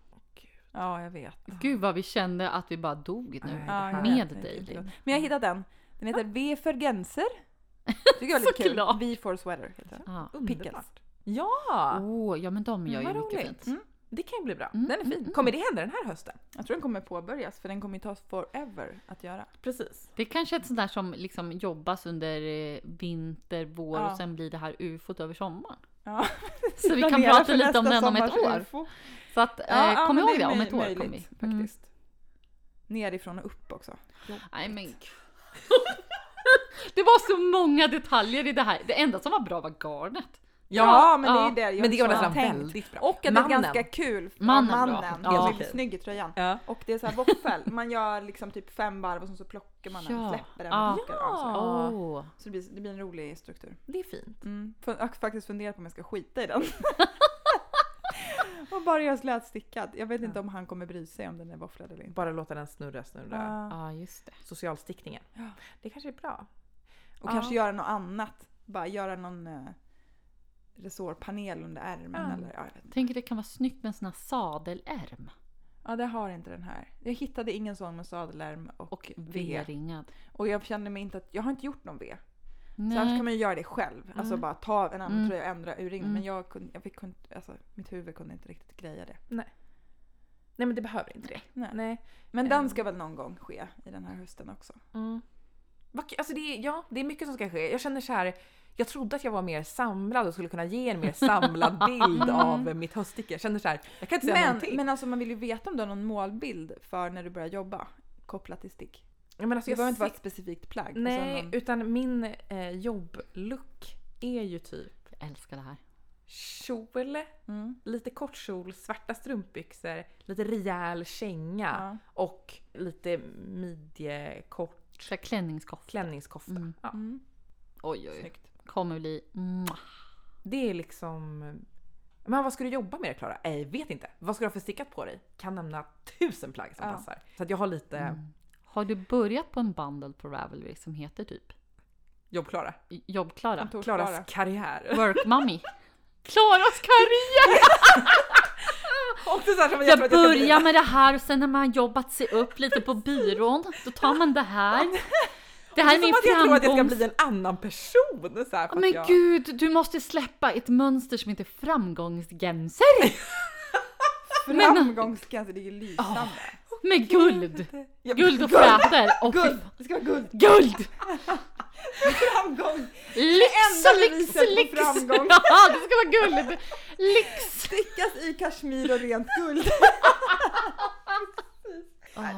Ja, jag vet. Gud vad vi kände att vi bara dog nu. Nej. Ja, jag Med vet. Det är dig, inte Linn. klokt. Men jag hittade den. Den heter V för Genser. Tycker jag är lite kul. Såklart. V for Sweater heter den. Ja. Pickles. Underbart. Ja! Åh, ja men de gör Mm, ju vad mycket roligt. fint. Det kan ju bli bra. Mm, Den är mm, fin. Kommer det hända den här hösten? Jag tror den kommer påbörjas för den kommer ju ta forever att göra. Precis. Det är kanske är ett sånt där som liksom jobbas under eh, vinter, vår Ja. och sen blir det här ufot över sommaren. Ja. Så vi kan Planera prata för lite om nästa den om ett sommars år. UFO. Så att, eh, Ja, ja, kom men ihåg det, är om möj- ett år kommer vi. möjligt, Mm. Faktiskt. Nerifrån och upp också. Nej men gud. Det var så många detaljer i det här. Det enda som var bra var garnet. Ja, men det är ju ja. det. Jag Men det var har nästan tänkt. väldigt bra. Och att det är Mannen. ganska kul. för Mannen bra. mannen. Ja. Ja. Helt Blir okej. snygg i tröjan. Ja. Och det är så här våffel. Man gör liksom typ fem varv och sen så plockar man den, Ja. släpper den Ja. och plockar av. Så, Ja. Åh. så det, blir, det blir en rolig struktur. Det är fint. Mm. Får- Jag har faktiskt funderat på om jag ska skita i den. och bara göra slätstickad. Jag vet inte om han kommer bry sig om den är våfflad eller inte. Bara låta den snurra, snurra. Ah. Ja just det. Socialstickningen. Ja. Det kanske är bra. Och Ah. Ja. kanske göra något annat. Bara göra någon eh, resårpanel under ärmen Ah. Ja. eller ja, jag vet inte. Tänker det kan vara snyggt med en sån här sadelärm. Ja, det har inte den här. Jag hittade ingen sån med sadelärm och, Och V. V-ringad. Och jag kände mig inte att, jag har inte gjort någon V. Så annars Nej. kan man ju göra det själv. Alltså Mm. bara ta en annan Mm. tröja och ändra urringning. Mm. Men jag kunde, jag fick, kunde, alltså, mitt huvud kunde inte riktigt greja det. Nej men det behöver inte det. Nej. Nej. Men Mm. den ska väl någon gång ske i den här hösten också. Mm. Vad- Alltså det är, ja, det är mycket som ska ske. Jag känner så här. Jag trodde att jag var mer samlad och skulle kunna ge en mer samlad bild av mitt höststycke. Jag känner så här. Jag kan inte säga Mm. Men, någonting. men alltså man vill ju veta om du har någon målbild för när du börjar jobba kopplat till stick. Ja, men alltså, Det jag behöver inte ser- vara alltså, ett specifikt plagg. och Nej, sen någon- utan min eh, jobblook är ju typ Jag älskar det här. kjol, Mm. lite kort kjol, svarta strumpbyxor, lite rejäl känga Ja. och lite midjekort Så här klänningskofta. klänningskofta. Mm. Ja, Mm. Oj oj. oj. Snyggt. Kommer bli... Mwah. det är liksom... Men vad ska du jobba med Klara? Jag vet inte. Vad ska du ha för stickat på dig? Kan nämna tusen plagg som Ja. passar. Så att jag har lite Mm. Har du börjat på en bundle på Ravelry som heter typ jobb-Klara. Jobbklara? Mm. Kontorsklara. Klaras karriär. Work mommy. Klaras karriär! Också så här som jag, Jag tror att jag ska bli- börjar med det här och sen när man har jobbat sig upp lite på byrån, då tar man det här. Det här är Det är min som att jag tror att jag ska framgångs... bli en annan person. Så här, för Ja, att Men jag... gud, du måste släppa ett mönster som heter framgångsgränser Framgångscancer, det är ju lysande. med guld. Jag- Guld och fräter. Och Guld! Det ska vara guld! Guld! Framgång! Lyx, enda lyx, beviset på lyx! framgång. Ja, det ska vara guld! Lyx! Stickas i kashmir och rent guld.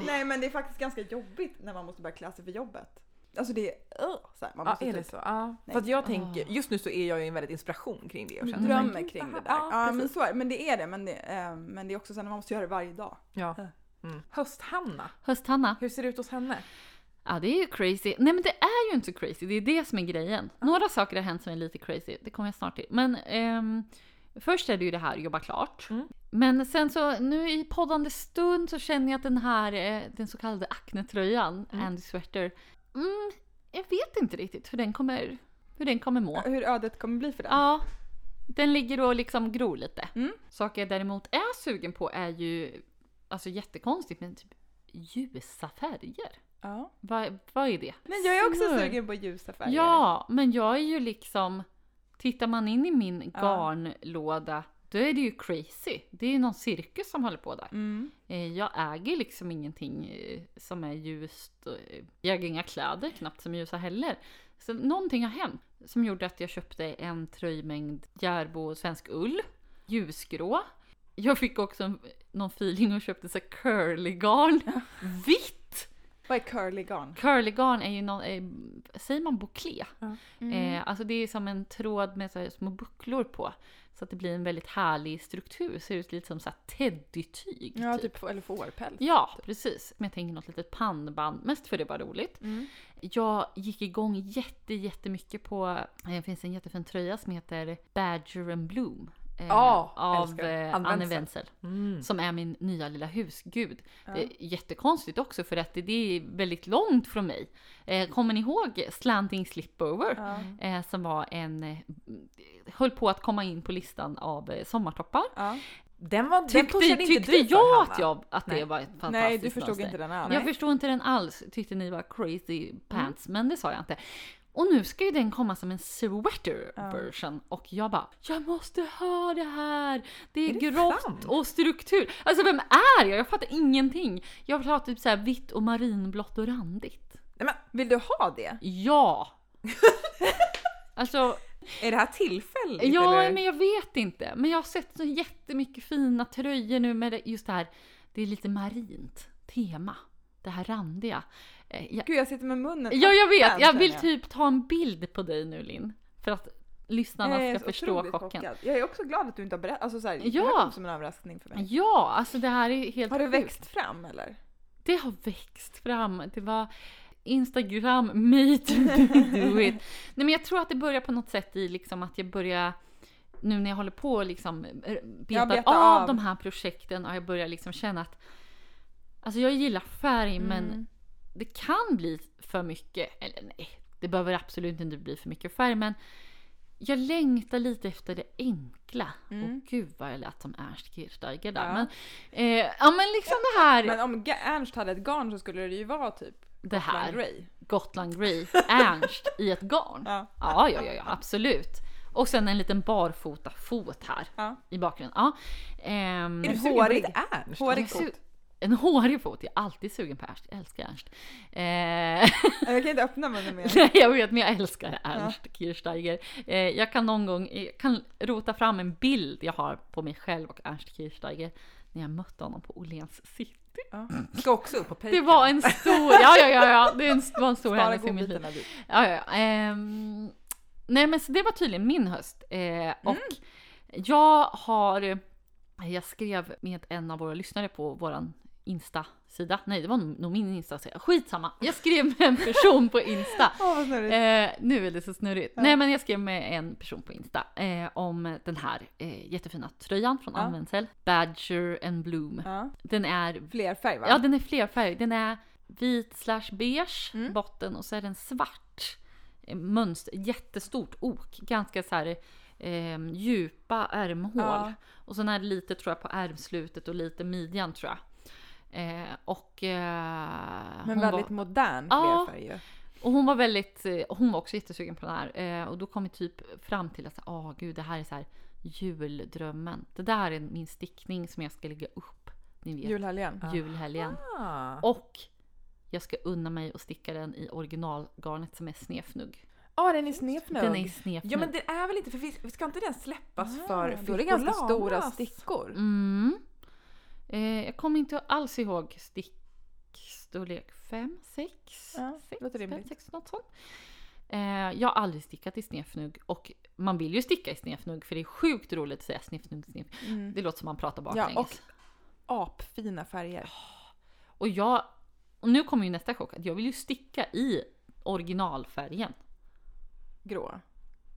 Nej men det är faktiskt ganska jobbigt när man måste börja klä sig för jobbet. Alltså det är... Uh, så här, man Ja, måste är typ det så? Ja. Nej. För att jag tänker, just nu så är jag ju en väldigt inspiration kring det. Och Mm. känner så här, drömmer gud, kring det här- där. Ja, Ja, men, precis. så är, det. men det är det. Men det, eh, men det är också så att man måste göra det varje dag. ja. Mm. Höst-Hanna, Höst-Hanna. hur ser det ut hos henne? Ja det är ju crazy. Nej men det är ju inte så crazy, det är det som är grejen. Några saker har hänt som är lite crazy, det kommer jag snart till. Men ehm, Först är det ju det här jobba klart. Mm. Men sen så nu i poddande stund så känner jag att den här eh, den så kallade aknetröjan, Mm. Andy Sweater. Mm, jag vet inte riktigt hur den kommer, hur den kommer må. Hur ödet kommer bli för den. Ja, den ligger och liksom gror lite. Mm. Saker jag däremot är sugen på är ju, alltså jättekonstigt men typ ljusa färger. Ja. Vad, vad är det? Men jag är också Smör. sugen på ljusa färger. Ja, men jag är ju liksom... Tittar man in i min Ja. garnlåda, då är det ju crazy. Det är ju någon cirkus som håller på där. Mm. Eh, Jag äger liksom ingenting eh, som är ljust. och, eh, Jag äger inga kläder knappt som är ljusa heller. Så någonting har hänt som gjorde att jag köpte en tröjmängd Järbo svensk ull, ljusgrå. Jag fick också en, någon feeling och köpte så här curlygarn, vitt! Vad är curly garn? Curlygarn är ju någon, eh, säger man bouclé? Mm. Eh, alltså det är som en tråd med så här små bucklor på. Så att det blir en väldigt härlig struktur. Ser ut lite som så här teddytyg. ja, typ, eller fårpäls. Ja, precis. Men jag tänker något litet pannband, mest för det var roligt. Mm. Jag gick igång jätte, jättemycket på, eh, det finns en jättefin tröja som heter Badger and Bloom. eh, Ja, av älskar. eh, Ann Anne Wenzel. Wenzel. Mm. Som är min nya lilla husgud. Ja. Det är jättekonstigt också för att det, det är väldigt långt från mig. Eh, kommer ni ihåg Slanting Slipover? Ja. Eh, som var en, eh, höll på att komma in på listan av eh, sommartoppar. Ja. Den var, den Tyckte, pushade inte tyckte du för, jag Hanna. att, jag, att det Nej. var ett fantastiskt Nej, du förstod mönster. inte den alls. Jag förstod inte den alls, tyckte ni var Mm. crazy pants, men det sa jag inte. Och nu ska ju den komma som en sweater Ja. version och jag bara “Jag måste ha det här! Det är, Är det grått sant? och struktur!” Alltså vem är jag? Jag fattar ingenting! Jag vill ha typ så här vitt och marinblått och randigt. Nej, men, Vill du ha det? Ja! alltså är det här tillfälligt? Ja, eller? men jag vet inte. Men jag har sett så jättemycket fina tröjor nu med det- just det här. Det är lite marint tema. Det här randiga. Eh, Jag, Gud, jag sitter med munnen ja, jag vet. öppen, Jag vill känner typ ta en bild på dig nu Linn. För att lyssnarna Jag är ska så förstå otroligt chocken. chockad. Jag är också glad att du inte har berättat. Alltså, så här, Det Ja. här kom som en överraskning för mig. Ja, alltså det här är helt Har det sjukt. växt fram eller? Det har växt fram. Det var Instagram meet do it. Nej men jag tror att det börjar på något sätt i liksom att jag börjar nu när jag håller på och liksom eh, betar betar av, av. de här projekten och jag börjar liksom känna att alltså jag gillar färg men Mm. det kan bli för mycket. Eller nej, det behöver absolut inte bli för mycket färg men jag längtar lite efter det enkla. Mm. Och gud vad jag lät som Ernst Kirchsteiger där. Ja. Men, eh, ja men liksom det här. Men om Ga- Ernst hade ett garn så skulle det ju vara typ det här. Glenn Grey. Gotland Grey, Ernst i ett garn. Ja. Ja, ja, ja, ja absolut. Och sen en liten barfota fot här Ja. i bakgrunden. Ja. Ehm, Är du En sugen på hårig- lite Ernst? Hårig Jag är su- fot. en hårig fot, jag är alltid sugen på Ernst, jag älskar Ernst. Eh, Jag kan inte öppna munnen mer. nej, jag vet men jag älskar Ernst Kirchsteiger. Eh, jag kan någon gång jag kan rota fram en bild jag har på mig själv och Ernst Kirchsteiger när jag mötte honom på Åhléns city. Ja. Ska också upp på Patreon. Det var en stor, ja ja ja, ja det är en- var en stor Spara händelse i mitt liv. godbitarna dit. Ja, ja, ja. Ehm, nej men så det var tydligen min höst. Eh, Mm. och jag har, jag skrev med en av våra lyssnare på våran Insta-sida. Nej det var nog min Insta-sida. Skitsamma. Jag skrev med en person på Insta. Åh vad snurrigt. Eh, nu är det så snurrigt. Nej men jag skrev med en person på Insta eh, om den här eh, jättefina tröjan från Ja. Ann Wenzel. Badger and Bloom. Ja. Den är Fler färg va? Ja, den är flerfärg. Den är vit slash beige Mm. botten och så är den svart eh, mönster. Jättestort ok. Ganska så här eh, djupa ärmhål. Ja. Och sen är det lite tror jag på ärmslutet och lite midjan tror jag. Eh, och, eh, Men hon väldigt var, modern Ja. flerfärg ju. och hon var väldigt, eh, hon var också jättesugen på den här. Eh, och då kom vi typ fram till att ah gud det här är så här juldrömmen. Det där är min stickning som jag ska lägga upp. Ni vet, Julhelgen. julhelgen. Ah. Och jag ska unna mig att sticka den i originalgarnet som är snefnugg. Ja, den är snefnugg. Den är snefnugg. Ja men det är väl inte, för vi vi ska inte den släppas för Ah, det är ganska stora stickor. mm. eh, jag kommer inte alls ihåg stickstorlek 5, 6, Ja, låter rimligt. 6 något sånt. Eh, jag har aldrig stickat i snefnugg och man vill ju sticka i snefnugg för det är sjukt roligt att säga snefnugg, snefnugg. Mm. Det låter som man pratar baklänges. Ja, och apfina färger. Och jag... Och nu kommer ju nästa chock att jag vill ju sticka i originalfärgen. Grå.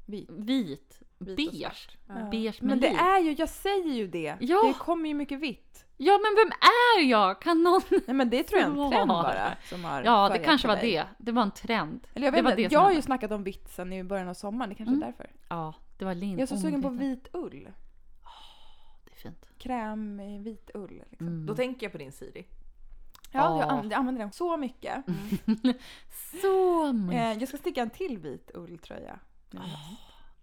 Vit. Vit, Vit och beige. svart. Ja. Beige med Men det liv. är ju, jag säger ju det. Ja. Det kommer ju mycket vitt. Ja men vem är jag? Kan någon... Nej men det tror jag är en trend Svar. bara. Som har Ja det förgat kanske på var dig. det. Det var en trend. Eller jag Det vet var inte, det som jag har hände. ju snackat om vitt sen i början av sommaren, det kanske Mm. är därför. Ja, det var lin. Jag är så om sugen på liten. vit ull. Det är fint. Kräm i vit ull. Liksom. Mm. Då tänker jag på din Siri. Ja, jag, Ja. Mm. an- jag använder den så mycket. Så mycket. Eh, jag ska sticka en till vit ulltröja. nu.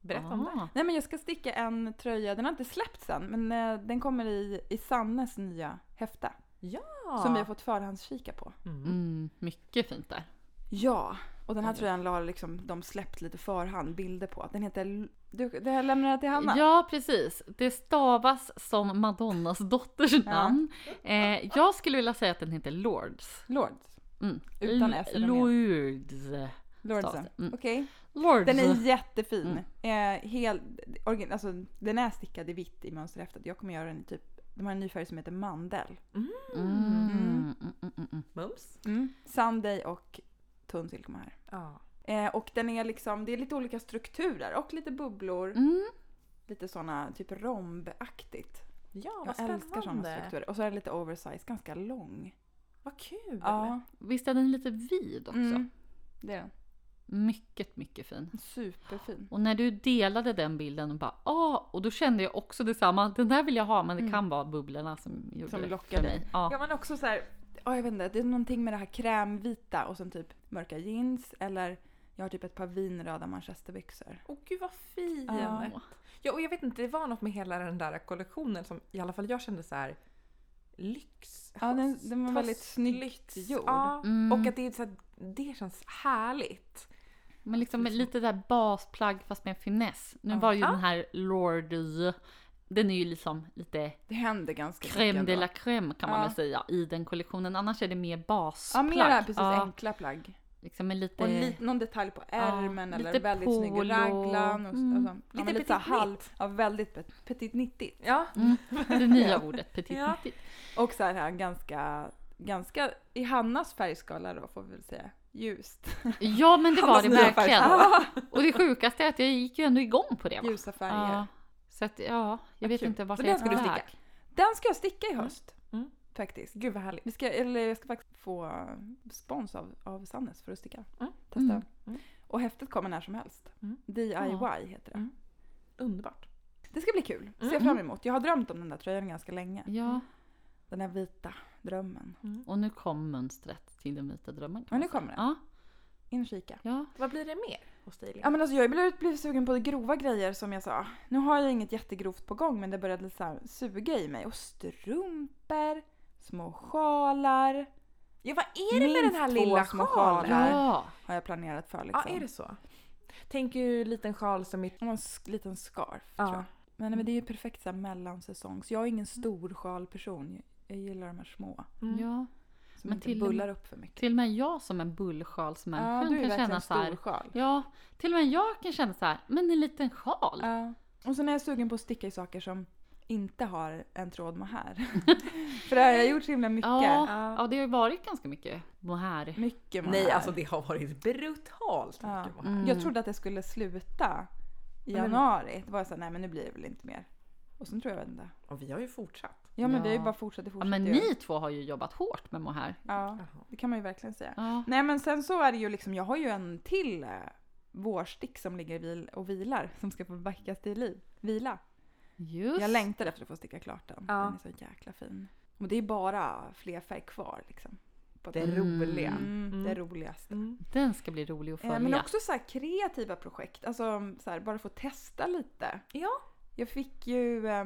Berätta om det. Ah. Nej men jag ska sticka en tröja, den har inte släppts än men eh, den kommer i, i Sannes nya häfte. Som vi har fått förhandskika på. Mm. Mm, mycket fint där. Ja, och den här Oj. tröjan har liksom, de släppt lite förhand bilder på. Den heter... L- Du, det här lämnar jag till Hanna. Ja, precis. Det stavas som Madonnas dotters namn. Eh, jag skulle vilja säga att den heter Lords. Lords. Mm. Utan L- S i den igen. Lords. Lords. stavas det. Mm. Okej. Lords. Den är jättefin. Eh, hel, origin, alltså, den är stickad i vitt i mönsterhäftet. Jag kommer göra den i typ... De har en ny färg som heter mandel. Mm, mm, mm, mm, mm. Mums? Sunday och tunn silke kommer här. Ja. Eh, och den är liksom, det är lite olika strukturer och lite bubblor. Mm. Lite såna, typ rombaktigt. Ja, vad Jag älskar såna spännande. strukturer. Och så är den lite oversized, ganska lång. Vad kul. Ja, Visst är den lite vid också? mm. det är den. Mycket, mycket fin. Superfin. Och när du delade den bilden och bara ah, och då kände jag också detsamma. Den där vill jag ha, men det Mm. kan vara bubblorna som gjorde Som det lockar för dig. mig. Ja. Ja men också så här, ja, jag vet inte, det är någonting med det här krämvita och sen typ mörka jeans eller jag har typ ett par vinröda manchesterbyxor. Åh gud vad fin! Ja. Ja, och jag vet inte, det var något med hela den där kollektionen som i alla fall jag kände så här lyx. Ja, den- den var höst- väldigt snyggt lyx. gjord. Ja, Mm. och att det, är så här, det känns härligt. Men liksom med lite där basplagg fast med finess. Nu Ja. var ju Ja. den här Lordy, den är ju liksom lite Det händer ganska crème de ändå. la crème kan man Ja. väl säga i den kollektionen. Annars är det mer Ja, basplagg. mera precis Ja, enkla plagg. liksom med lite... Och li- någon detalj på ärmen Ja, eller lite väldigt polo. snygg raglan. Och, och så. Mm. Ja, men Lite lite så här petit halv, ja, väldigt pet- petit nittigt. Ja, Mm. det nya ordet petit Ja. petit. Och så här ganska, ganska, i Hannas färgskala då får vi väl säga, ljust. Ja men det var det Hannas nya färg- verkligen. Ah, Och det sjukaste är att jag gick ju ändå igång på det. Va? Ljusa färger. Ja. Så att ja, jag Vad vet kul. inte vart Så jag är den ska på du väg. sticka? Den ska jag sticka i höst. Mm. Faktiskt. gud vad härligt. Vi ska, eller jag ska faktiskt få spons av, av Sannes för att sticka. Mm. Testa. Mm. Mm. Och häftet kommer när som helst. Mm. DIY heter det. Mm. Underbart. Det ska bli kul. Ser Mm. fram emot. Jag har drömt om den där tröjan ganska länge. Ja, Den här vita drömmen. och nu kom mönstret till den vita drömmen. Ja, kan man nu kommer säga. den. Ja, In och kika. ja. Vad blir det mer hos dig? Lena? Ja men alltså jag har ju blivit, blivit sugen på grova grejer som jag sa. Nu har jag inget jättegrovt på gång men det började så här suga i mig. Och strumpor, små sjalar Ja, vad är det med Minst den här två lilla små sjalen? Ja, sjalar. ja. har jag planerat för liksom. är det så? Tänk ju liten sjal som mitt... Och en sk- liten scarf Ja. tror jag. Men, men det Mm. är ju perfekt så här mellansäsongs. Jag är ingen stor sjalperson. Jag gillar de här små. Mm. ja. Som Men inte till- bullar upp för mycket. Till och med jag som en bullsjalsmänniska ja, du kan är känna verkligen så här. stor sjal. Ja, till och med jag kan känna så här. Men en liten sjal. Ja. Och sen är jag sugen på att sticka i saker som inte har en tråd mohair. för det har jag gjort så himla mycket. Ja, Ja. ja, det har ju varit ganska mycket Mm. mohair. Mycket mohair. Nej, alltså det har varit brutalt Ja. mycket. Mm. Jag trodde att det skulle sluta i Men- januari. Det var jag så här, nej men nu blir det väl inte mer. Och sen tror jag, jag vet inte. Och vi har ju fortsatt. Ja men vi har ju Ja. bara fortsatt och Ja, fortsatt. men att göra. ni två har ju jobbat hårt med mohair. Ja, Jaha. det kan man ju verkligen säga. Ja. Nej men sen så är det ju liksom, jag har ju en till eh, vårstick som ligger vil- och vilar som ska få backas till liv. Vila. Just. Jag längtar efter att få sticka klart den. Ja. Den är så jäkla fin. Och det är bara fler färg kvar liksom. På Det den. roliga. Mm, Det Mm. roligaste. Mm. Den ska bli rolig att Eh, följa. Men också så här kreativa projekt, alltså så här, bara få testa lite. Ja. Jag fick ju eh,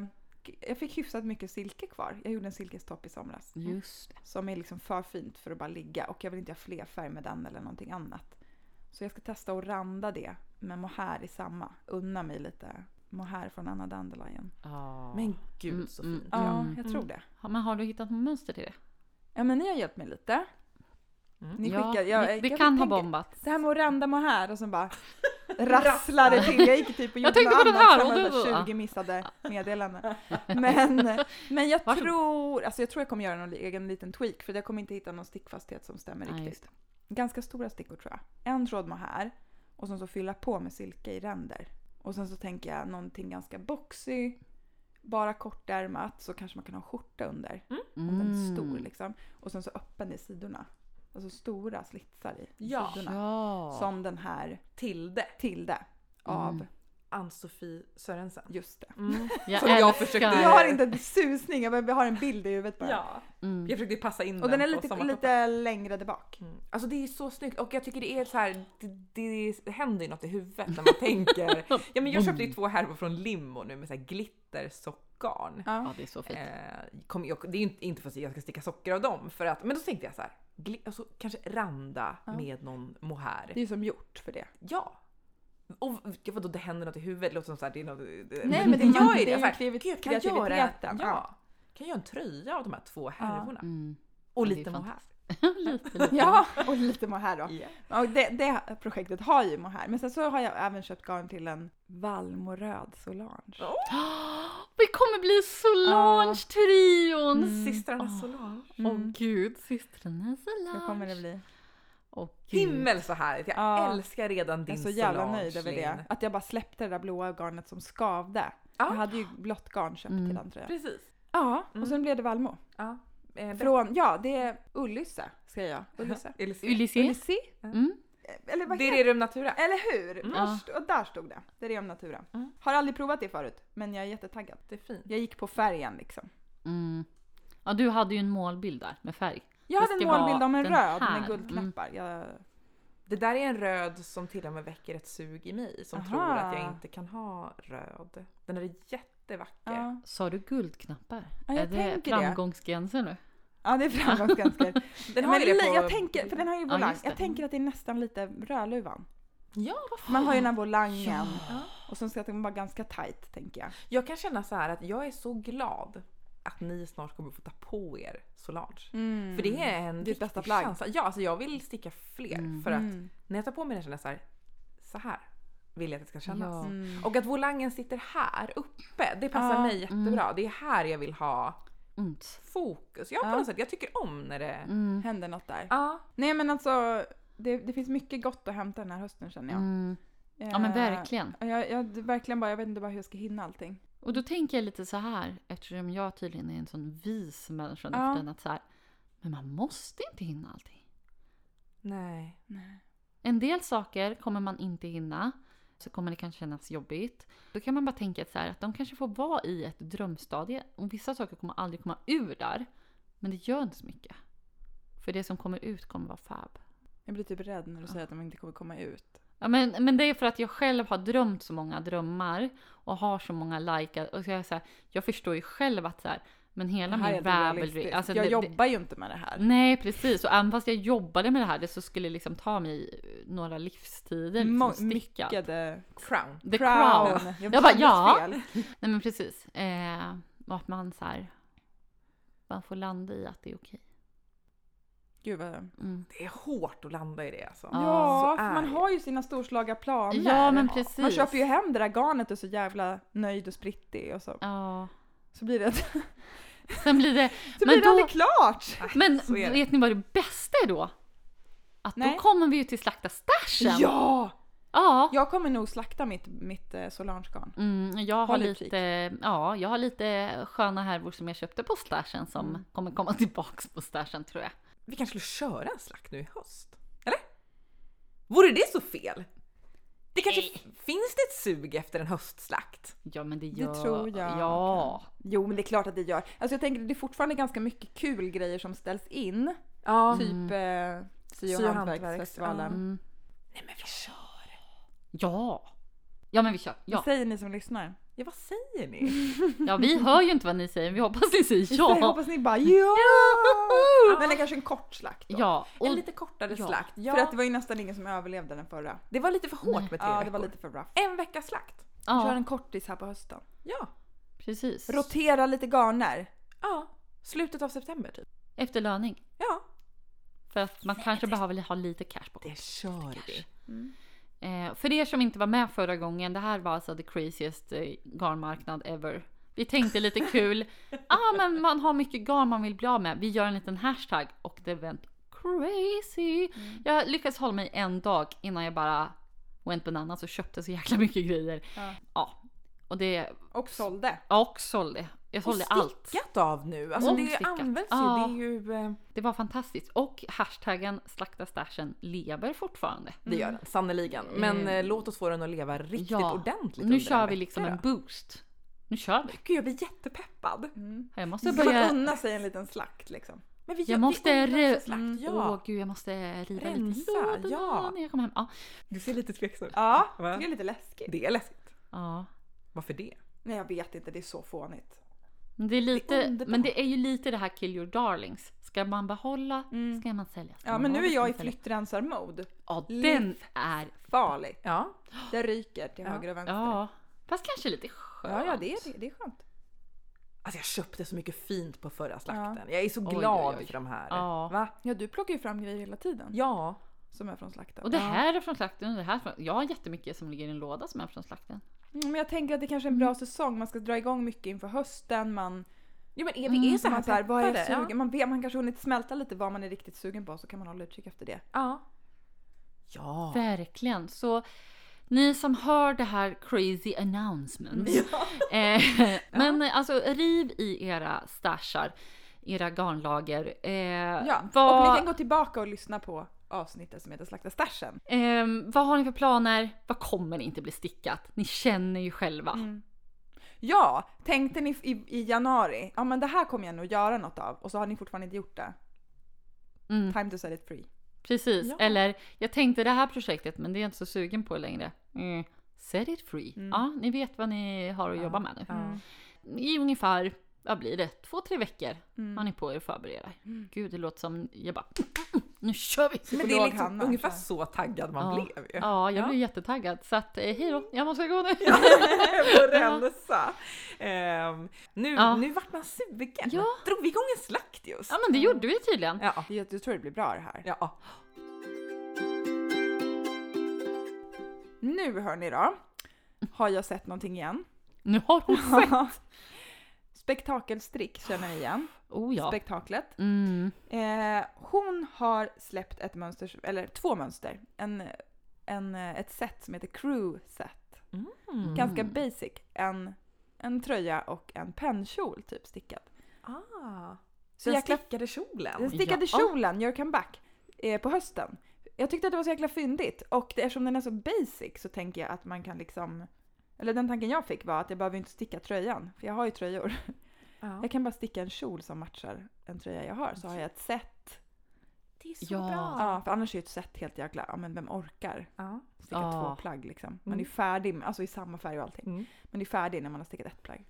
jag fick hyfsat mycket silke kvar. Jag gjorde en silkestopp i somras. Just det. Som är liksom för fint för att bara ligga och jag vill inte ha fler färg med den eller någonting annat. Så jag ska testa att randa det med mohair i samma. Unna mig lite mohair från Anna Dandelion. Ja. Men gud Mm, så mm. fint. Ja, Mm. jag tror det. Ja, men har du hittat något mönster till det? Ja men ni har hjälpt mig lite. Mm. Ni ja, skickade, jag, vi, vi jag kan ha tänker- bombat. Det här med att randa mohair och sen bara rasslade till. Jag gick typ och Jag gjorde tänkte på något den här annat som och hade du- så här 20 missade meddelanden. Men, men jag Varsågod. tror, alltså jag tror jag kommer göra någon egen liten tweak för jag kommer inte hitta någon stickfasthet som stämmer Nej, just riktigt. Ganska stora stickor tror jag. En tråd mohair och sen så fylla på med silke i ränder. Och sen så tänker jag någonting ganska boxy. Bara kortärmat så kanske man kan ha en skjorta under. Om den är Mm. stor liksom. Och sen så öppen i sidorna. Alltså stora slitsar i Ja. Mm. sidorna. Ja. Som den här Tilde, Tilde av. Ann-Sofie Sörensen. Just det. Mm. Jag Som jag älskar- försökte- Jag har inte en susning, jag bara- jag har en bild i huvudet bara. Ja. Mm. Jag försökte passa in Och den är på lite, samma lite längre där bak. Mm. Alltså det är så snyggt och jag tycker det är så här, det, det händer ju något i huvudet när man tänker. Ja men jag köpte ju två härvor från Limmo nu med så här glittersockgarn. Ja, det är så fint. Eh, kom, jag, det är ju inte, inte för att jag ska sticka socker av dem för att, men då tänkte jag så här, gli, alltså, kanske randa Ja. med någon mohair. Det är ju som gjort för det. Ja! Och ja, vadå det händer något i huvudet, det låter som så här, det är något... Nej, men det är gör ju- Mm. det Jag är ju så här, kreativ- gud, kan jag göra- kreativiteten. Ja. Kan jag göra en tröja av de här två härvorna? Mm. Och Ja, det är lite mohair. lite, lite. Ja, och lite mohair då. Ja. Och det, det projektet har ju mohair. Men sen så har jag även köpt garn till en valmoröd Solange. Vi kommer bli Solange-trion! Mm. Systrarna Ah. Solange. Åh gud, systrarna Solange. Det Mm, kommer det bli. Åh, gud. Himmel så härligt! Jag Ja. älskar redan Jag din är så jävla Solange, nöjd över Linn. det. Att jag bara släppte det där blåa garnet som skavde. Jag Ja, hade ju blått garn köpt Mm. till den tröjan. precis. Ja, och Mm. sen blev det Valmo. Ja. Eh, bra. Från, ja det är Ullysse skrev jag. Ullysse. Ulysses. Ulysses. Ulyssi? Mm. Eller vad Det heter är Rerum Natura. Eller hur? Mm. Där st- och där stod det. Det är ren natura. Mm. Har aldrig provat det förut, men jag är jättetaggad. Det är fint. Jag gick på färgen liksom. Mm. Ja, du hade ju en målbild där med färg. Jag Det hade en ska målbild vara om en den röd här. med guldknappar. Jag, Det där är en röd som till och med väcker ett sug i mig som Aha. tror att jag inte kan ha röd. Den är jättevacker. ja. Sa du guldknappar? Ja, jag är det tänker det. framgångsgränsen nu? ja, det är framgångsgansker. Den har men ju det li- på... jag tänker, för den har ju Ja, volang. just det. jag tänker att det är nästan lite Rödluvan. Ja, vad fan. Man har ju den här volangen. Ja. Och sen ska den vara ganska tight tänker jag. Jag kan känna så här att jag är så glad att ni snart kommer få ta på er Solange. För det är en Ditt bästa riktig Mm. plagg. Mm. känsla. Ja, alltså jag vill sticka fler för att när jag tar på mig den känner jag så här, så här vill jag att det ska kännas. Ja. Mm. Och att volangen sitter här uppe, det passar Ja. mig Mm. jättebra. Det är här jag vill ha Ont. fokus. Jag, på Ja. något sätt, jag tycker om när det... Mm. Händer något där. Ja. Nej men alltså, det, det finns mycket gott att hämta den här hösten känner jag. Mm. Ja men Eh, verkligen. Jag, jag verkligen bara, jag vet inte bara hur jag ska hinna allting. Och då tänker jag lite så här, eftersom jag tydligen är en sån vis människa nu för Ja. tiden, att så här, men man måste inte hinna allting. Nej. En del saker kommer man inte hinna, så kommer det kanske kännas jobbigt. Då kan man bara tänka att så här, att de kanske får vara i ett drömstadie och vissa saker kommer aldrig komma ur där. Men det gör inte så mycket. För det som kommer ut kommer vara fab. Jag blir typ rädd när du säger att de inte kommer komma ut. Ja, men, men det är för att jag själv har drömt så många drömmar och har så många likar. Och så är jag, så här, jag förstår ju själv att så här, men hela det här är min inte vävelry... realistiskt. Alltså jag det, det, Mm. jobbar ju inte med det här. Nej precis, och även fast jag jobbade med det här det så skulle det liksom ta mig några livstider liksom, Mo- sticka. Mycket Crown. The crown. Jag bara, ja. Fel. Nej men precis. Eh, och att man så här, man får landa i att det är okej. Gud vad... Mm. Det är hårt att landa i det alltså. Ja, Ja, så är för man det. har ju sina storslaga planer. Ja men precis. Man köper ju hem det där garnet och är så jävla nöjd och sprittig och så, Ja. så blir det, så Sen blir det... blir Men det då- aldrig klart! Men så är det. vet ni vad det bästa är då? Att Nej. då kommer vi ju till slakta stashen. Ja! ja. Jag kommer nog slakta mitt, mitt eh, Solange-garn. Mm, jag har Håll utkik. lite, ja, jag har lite sköna härvor som jag köpte på stashen som kommer komma tillbaks på stashen tror jag. Vi kanske skulle köra en slakt nu i höst? Eller? Vore det så fel? Det kanske finns det ett sug efter en höstslakt? Ja men det gör... tror jag. Ja. Jo, men det är klart att det gör. Alltså jag tänker det är fortfarande ganska mycket kul grejer som ställs in. Ja. Typ eh, sy Sy- och och hantverksfestivalen. hantverks, Mm. Nej men vi kör! Ja. Ja men vi kör. Vad Ja. säger ni som lyssnar? Ja vad säger ni? ja, vi hör ju inte vad ni säger, vi hoppas ni säger Jag ja. hoppas ni bara ja! Men det är kanske en kort slakt då. Ja, och En lite kortare Ja. slakt. Ja. För att det var ju nästan ingen som överlevde den förra. det var lite för hårt med tre Ja, det veckor. var lite för rough. En vecka slakt. Kör ja, en kortis här på hösten. Ja. precis. Rotera lite garner. Ja. Slutet av september typ. Efter löning. Ja. För att man kanske behöver ha lite cash på. Det kör vi. Eh, för er som inte var med förra gången, det här var alltså the craziest eh, garnmarknad ever. Vi tänkte lite kul, ah, men man har mycket garn man vill bli av med. Vi gör en liten hashtag Mm. och det went crazy. Jag lyckades hålla mig en dag innan jag bara och en bananas och köpte så jäkla mycket grejer. Ja. Ja. Och det, Och sålde. ja, och sålde. Jag sålde allt. stickat av nu. Alltså Och det stickat. används ju. Ja. Det är ju eh, Det var fantastiskt. Och hashtaggen slakta stashen lever fortfarande. det gör den sannerligen. Men Mm. eh, låt oss få den att leva riktigt Ja. ordentligt Nu under kör en vi vecka liksom då. en boost. Nu kör vi. Gud jag blir jättepeppad. Mm. Jag måste Så började... börja. unna sig en liten slakt liksom. Men vi, Jag måste... vi undrar re- för slakt, Mm, ja. Åh gud, jag måste riva lite Rensa, lådorna ja. när jag kommer hem. Ja. Du ser lite tveksam ut. Ja, Va? det är lite läskigt. Det är läskigt. ja. Varför det? Nej jag vet inte, det är så fånigt. Men det, är lite, underbart. men det är ju lite det här kill your darlings. Ska man behålla, Mm. ska man sälja. Ska Ja man men nu är behålla, jag i ska man sälja. flyttrensar-mode. Ja, den är... Farligt. Ja, Det ryker till Ja. höger och vänster. Ja. Fast kanske lite skönt. ja, ja det, är, det är skönt. Alltså jag köpte så mycket fint på förra slakten. Jag är så glad oj, oj. för de här. Ja. Va? Ja, du plockar ju fram grejer hela tiden Ja. som är från slakten. Och det här är från slakten och det här är från... Jag har jättemycket som ligger i en låda som är från slakten. Mm, men jag tänker att det kanske är en bra säsong. Man ska dra igång mycket inför hösten. Man, Jo men är vi Mm, är så så här man, så här, vad är jag peppade? Ja. sugen? Man, vet, man kanske hunnit smälta lite vad man är riktigt sugen på så kan man hålla utkik efter det. Ja. Ja. Verkligen. Så ni som hör det här crazy Mm. announcement. Eh, men eh, alltså riv i era stashar, era garnlager. Eh, Ja. vad, Och ni kan gå tillbaka och lyssna på avsnittet som heter Slakta stashen. ehm, vad har ni för planer? Vad kommer inte bli stickat? Ni känner ju själva. Mm. Ja, tänkte ni i, i januari, ja men det här kommer jag nog göra något av och så har ni fortfarande inte gjort det. Mm. Time to set it free. Precis. Ja. Eller jag tänkte det här projektet men det är jag inte så sugen på längre. Mm. Set it free. Mm. Ja, ni vet vad ni har att jobba med nu. I ungefär, vad blir det, två, tre veckor Mm. har ni på er att förbereda er. Gud, det låter som, jag bara, "Mm, nu kör vi! Men det är Psykolog liksom Hanna, ungefär så. så taggad man Ja. blev ju. Ja, jag Ja. blev jättetaggad. Så att, eh, hej då, jag måste gå nu. På rensa. Ehm, nu, Ja. nu vart man sugen. Ja. Drog vi igång en slakt just? Ja, men det gjorde vi tydligen. Ja. Jag jag tror det blir bra det här. ja. Nu hörni då, har jag sett någonting igen. Nu har hon sett. Spektakelstrick känner ni igen. Oh ja. Spektaklet. Mm. Eh, hon har släppt ett mönster, eller två mönster. En, en, eh, ett set som heter crew set. Hmm. Mm. Ganska basic. En, en tröja och en pennkjol typ stickad. Ah. Så Så jag jäkla- stickade Den kjolen. stickade Ja. kjolen, your comeback, eh, på hösten. Jag tyckte att det var så jäkla fyndigt och det, eftersom den är så basic så tänker jag att man kan liksom eller den tanken jag fick var att jag behöver inte sticka tröjan, för jag har ju tröjor. Ja. Jag kan bara sticka en kjol som matchar en tröja jag har, så har jag ett set. Det är så Ja. bra. Ja, för annars är ju ett set helt jäkla, ja men vem orkar? Ja. stickat Ja. Mm. två plagg liksom. Man är färdig, med- alltså i samma färg och allting. Mm. Man är färdig när man har stickat ett plagg.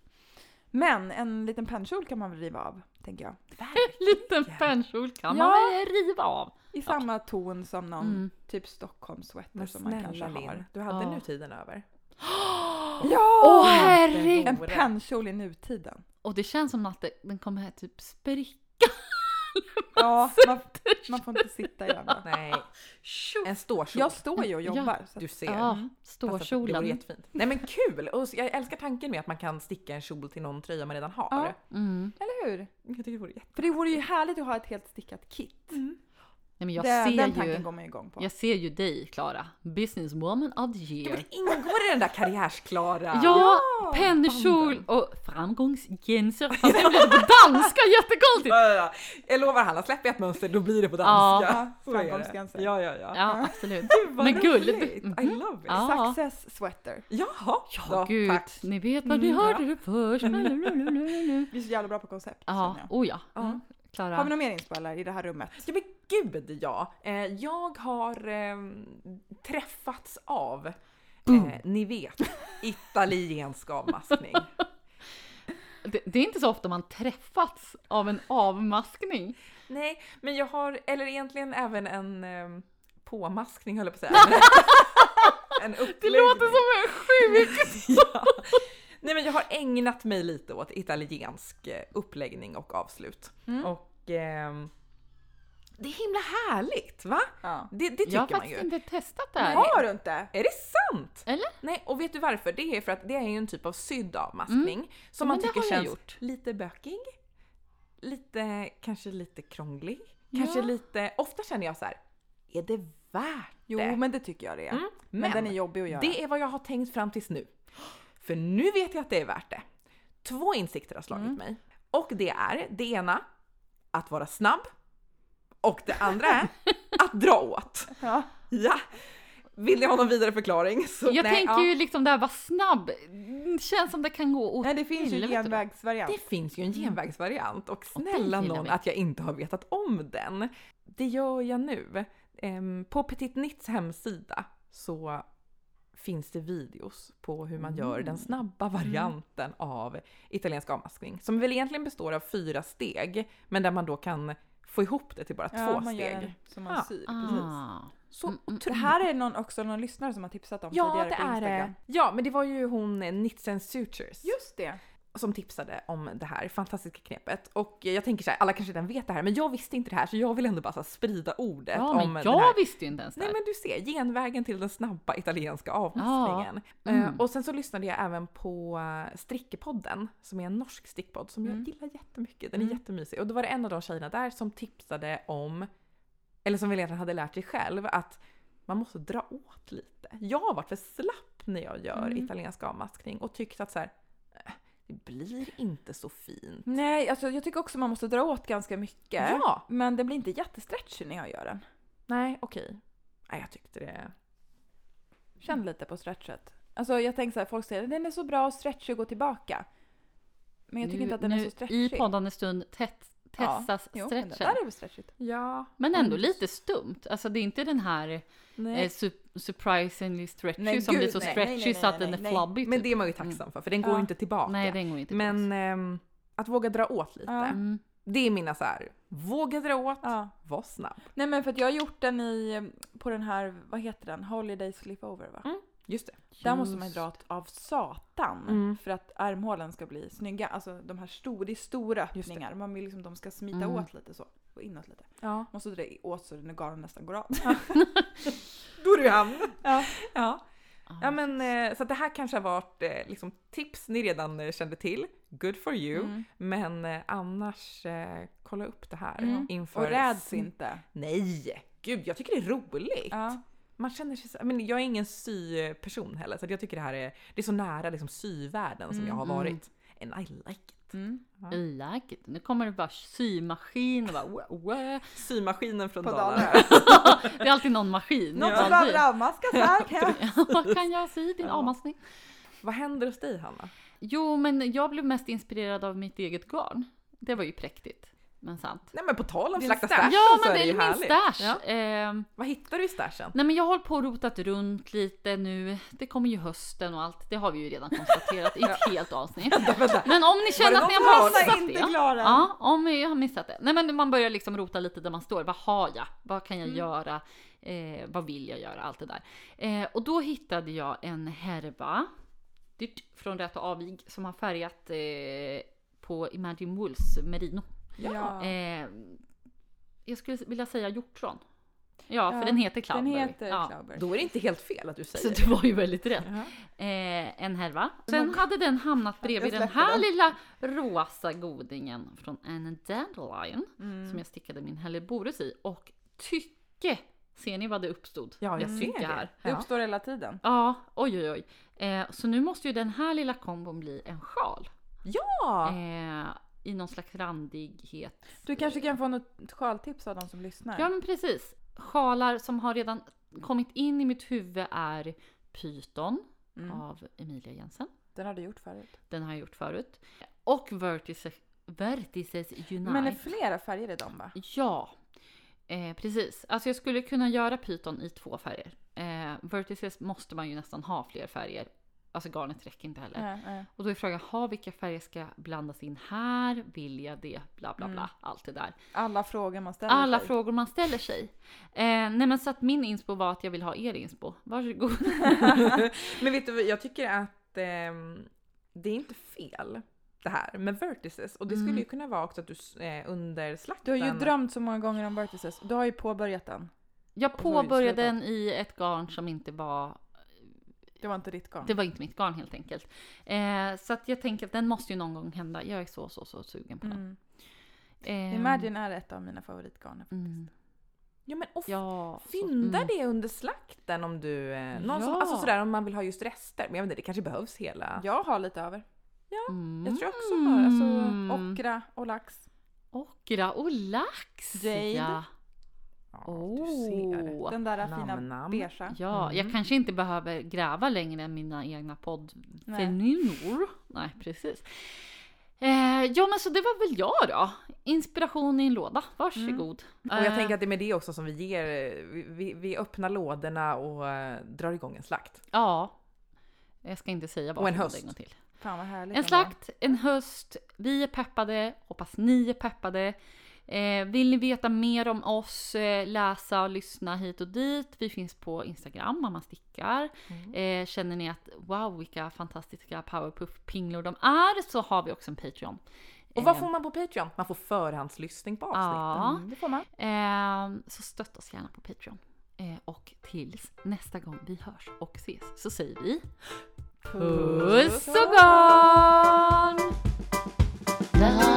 Men en liten pennkjol kan man väl riva av, tänker jag. Liten pennkjol kan man Ja. väl riva av. I samma ton som någon Mm. typ Stockholm sweater Men som man kanske snälla har. Linn, du hade Ja. nu tiden över. Åh Ja! herregud! en vore- pennkjol i nutiden. Och det känns som att det- den kommer här typ spricka. Ja, man, man får inte sitta i den. va? Nej, en ståkjol. Jag står ju och jobbar. Så att, Du ser. Ja, Fast att Det vore ståkjolen. jättefint. Nej men kul! Och så- jag älskar tanken med att man kan sticka en kjol till någon tröja man redan har. Ja. Mm. eller hur? Jag tycker det vore jätte... För det vore ju härligt att ha ett helt stickat kit. Nej, men jag, det, den ser tanken ju, går man ju igång på. jag ser ju dig Klara, businesswoman of the Ja, year. men det ingår i den där karriärsklara... Ja, pennkjol och framgångsgenser. Fast nu blev det på danska, jättekonstigt! Ja, ja, ja. Jag lovar Hanna, släpper jag ett mönster då blir det på danska. Ja, Så är det. framgångsgränser. Ja, ja, ja. Ja, absolut. Vad Men guld! roligt. Mhm. I love it. Ja. Success sweater. Jaha, Ja, då, gud. tack. Ni vet vad ni Mm, hörde ja. det först. Vi är så jävla bra på koncept. Ja, känner jag. oh ja. Ja. Har vi Klara. några mer inspelare i det här rummet? Ja men gud ja! Eh, jag har ehm, träffats av, eh, Mm. ni vet, italiensk avmaskning. Det, det är inte så ofta man träffats av en avmaskning. Nej, men jag har, eller egentligen även en ehm, påmaskning höll jag på att säga. en Det uppläggning. låter som en sjuk... ja. Nej men jag har ägnat mig lite åt italiensk eh, uppläggning och avslut. Mm. Och ehm, det är himla härligt va? Ja. Det, det Jag har tycker man faktiskt ju. inte testat det här. Har du inte? Är det sant? Eller? Nej, och vet du varför? Det är för att det är ju en typ av sydd avmaskning som Mm. Men man det tycker har jag känns gjort. lite bökig, lite, kanske lite krånglig, kanske Ja. lite, ofta känner jag så här, är det värt Jo, det? men det tycker jag det är. Mm. Men, Men den är jobbig att göra. det är vad jag har tänkt fram tills nu. För nu vet jag att det är värt det. Två insikter har slagit Mm. mig. Och det är det ena, att vara snabb. Och det andra är att dra åt. Ja. Ja! Vill ni ha någon vidare förklaring? Så, Jag nej, tänker ja. ju liksom där vara snabb. Det känns som det kan gå åt Nej, det finns ju en helvete. genvägsvariant. Det finns ju Mm. en genvägsvariant och den snälla gillar någon vi. att jag inte har vetat om den. Det gör jag nu. Ehm, På Petit Nits hemsida så finns det videos på hur man gör Mm. den snabba varianten av italiensk avmaskning. Som väl egentligen består av fyra steg, men där man då kan få ihop det till bara två man gör steg. en som man Ja. syr. Precis. Ah. Så Det här är någon, också någon lyssnare som har tipsat om Ja, tidigare det på är Instagram. det. Ja, men det var ju hon eh, Knits and Sutures. Just det. som tipsade om det här fantastiska knepet. Och jag tänker så här, alla kanske redan vet det här, men jag visste inte det här så jag vill ändå bara så här sprida ordet Ja, om men den här. jag visste ju inte ens det Nej här. men du ser, genvägen till den snabba italienska avmaskningen. Mm. Eh, och sen så lyssnade jag även på eh, Strickepodden som är en norsk stickpodd som jag gillar jättemycket. Den är jättemysig. Och då var det en av de tjejerna där som tipsade om, eller som väl egentligen hade lärt sig själv, att man måste dra åt lite. Jag har varit för slapp när jag gör italiensk avmaskning och tyckt att så här, "Eh, det blir inte så fint. Nej, alltså jag tycker också man måste dra åt ganska mycket. Ja! Men den blir inte jättestretchig när jag gör den. Nej, okej. Nej, jag tyckte det. Känn lite på stretchet. Alltså jag tänker så här, folk säger den är så bra och stretchig och gå tillbaka. Men jag tycker Nu- inte att den är nu så stretchig. I poddande stund tät, testas Jo, men det stretchen. där är väl stretchigt. Ja. Men ändå lite stumt. Alltså det är inte den här eh, Nej. su- surprisingly stretchy Nej, som gud, blir så nej, nej, stretchy nej, så att nej, den är nej. flabby. Men typ. det är man ju tacksam för, för den går Ja. ju inte tillbaka. Nej, den går inte Men tillbaks. ehm, att våga dra åt lite. Ja. Mm. Det är mina så här. våga dra åt, Ja. var snabb. Nej men för att jag har gjort den i, på den här, vad heter den? Holiday Slipover va? Just det. Där måste man ju dra åt av satan Mm. för att armhålen ska bli snygga. Alltså de här stora, det är stora Just det. öppningar. Man vill liksom de ska smita Mm. åt lite så. Och inåt lite. Ja. Måste dra åt så den garnen nästan går av. Då är du i hamn. Ja. ja. Ja, men, eh, så att det här kanske har varit eh, liksom, tips ni redan eh, kände till. Good for you. Mm. Men eh, annars, eh, kolla upp det här Mm. inför... Och räds inte. Nej! Gud, jag tycker det är roligt. Ja. Man känner sig så, men jag är ingen syperson heller så att jag tycker det här är, det är så nära liksom, syvärlden som jag har varit. And I like it. Mm. I like it. Nu kommer det bara symaskin och bara wah, wah. Symaskinen från På Dalarna. Dalarna. Det är alltid någon maskin. Någon Ja. som behöver avmaskas här. Vad kan jag sy din avmaskning? Vad händer hos dig Hanna? Jo, men jag blev mest inspirerad av mitt eget garn. Det var ju präktigt, men sant. Nej men på tal om Din slakta stash. stashen Ja, så men är det det ju är min härligt. stash. Ja. Ehm, Vad hittar du i stashen? Nej men jag har på och rotat runt lite nu. Det kommer ju hösten och allt. Det har vi ju redan konstaterat i ett helt avsnitt. Men om ni känner det att ni någon har som missat inte det. klarar? Ja, om ni har missat det. Nej men man börjar liksom rota lite där man står. Vad har jag? Vad kan Mm. jag göra? Eh, vad vill jag göra? Allt det där. Eh, och då hittade jag en härva. Dyrt, från Rätt och Avig som har färgat eh, på Imagine Wolves merino. Ja. Eh, jag skulle vilja säga hjortron. Ja, för Ja, den heter Cloudberry. Den heter Ja. Cloudberry. Då är det inte helt fel att du säger Så det. det var ju väldigt rätt. Jaha. Eh, en härva. Sen hade den hamnat bredvid den släppte här den. lilla rosa godingen från Anne Dandelion Mm. som jag stickade min Helleborus i och tycke! Ser ni vad det uppstod? Ja, jag Ett ser tycke det. här. Det Ja. uppstår hela tiden. Ja, oj oj oj. Eh, så nu måste ju den här lilla kombon bli en sjal. ja! Eh, I någon slags randighet. Du kanske kan få något sjaltips av de som lyssnar. Ja men precis. Sjalar som har redan kommit in i mitt huvud är Python Mm. av Emilia Jensen. Den har du gjort förut. Den har jag gjort förut. Och Vertices, Vertices Unite. Men det är flera färger i dem va? Ja, eh, precis. Alltså jag skulle kunna göra pyton i två färger. Eh, vertices måste man ju nästan ha fler färger. Alltså garnet räcker inte heller. Nej, nej. Och då är frågan, ha vilka färger ska blandas in här? Vill jag det? Bla bla bla. Allt det där. Alla frågor man ställer Alla sig. frågor man ställer sig. Eh, nej men så att min inspo var att jag vill ha er inspo. Varsågod. Men vet du vad, jag tycker att ehm, det är inte fel det här med vertices. Och det skulle Mm. ju kunna vara också att du s- eh, under Du slakten... har ju drömt så många gånger om Vertices. Du har ju påbörjat den. Jag så har vi påbörjade den slutat. i ett garn som inte var Det var inte ditt garn. Det var inte mitt garn helt enkelt. Eh, så att jag tänker att den måste ju någon gång hända. Jag är så, så, så sugen på den. Mm. Eh, Imagine är ett av mina favoritgarn. mm. Ja men och Ja. så- fynda mm. det under slakten om du... Eh, någon som, Ja. alltså sådär om man vill ha just rester. Men jag vet inte, det kanske behövs hela. Jag har lite över. Mm. jag tror jag också Så, alltså, Mm. ockra och lax. Ockra och lax! Jade. Ja, Ja, oh. Den där fina Namn-namn. beigea. ja jag Mm. kanske inte behöver gräva längre än mina egna poddfenynor. Nej, precis. Eh, ja, men så det var väl jag då. Inspiration i en låda. Varsågod. Mm. Och jag Eh, tänker att det är med det också som vi ger, eh, vi, vi, vi öppnar lådorna och eh, drar igång en slakt. Eh, Ja. Jag ska inte säga vad Och en för höst. någonting gång till. Fan vad härligt. En ändå. slakt, en höst. Vi är peppade. Hoppas ni är peppade. Eh, vill ni veta mer om oss, eh, läsa och lyssna hit och dit. Vi finns på Instagram, Mamma Stickar. Mm. Eh, känner ni att wow vilka fantastiska powerpuff-pinglor de är så har vi också en Patreon. Eh, Och vad får man på Patreon? Man får förhandslyssning på avsnitten. Ja. Mm, det får man. Ehm, så stötta oss gärna på Patreon. Eh, och tills nästa gång vi hörs och ses så säger vi Puss och garn!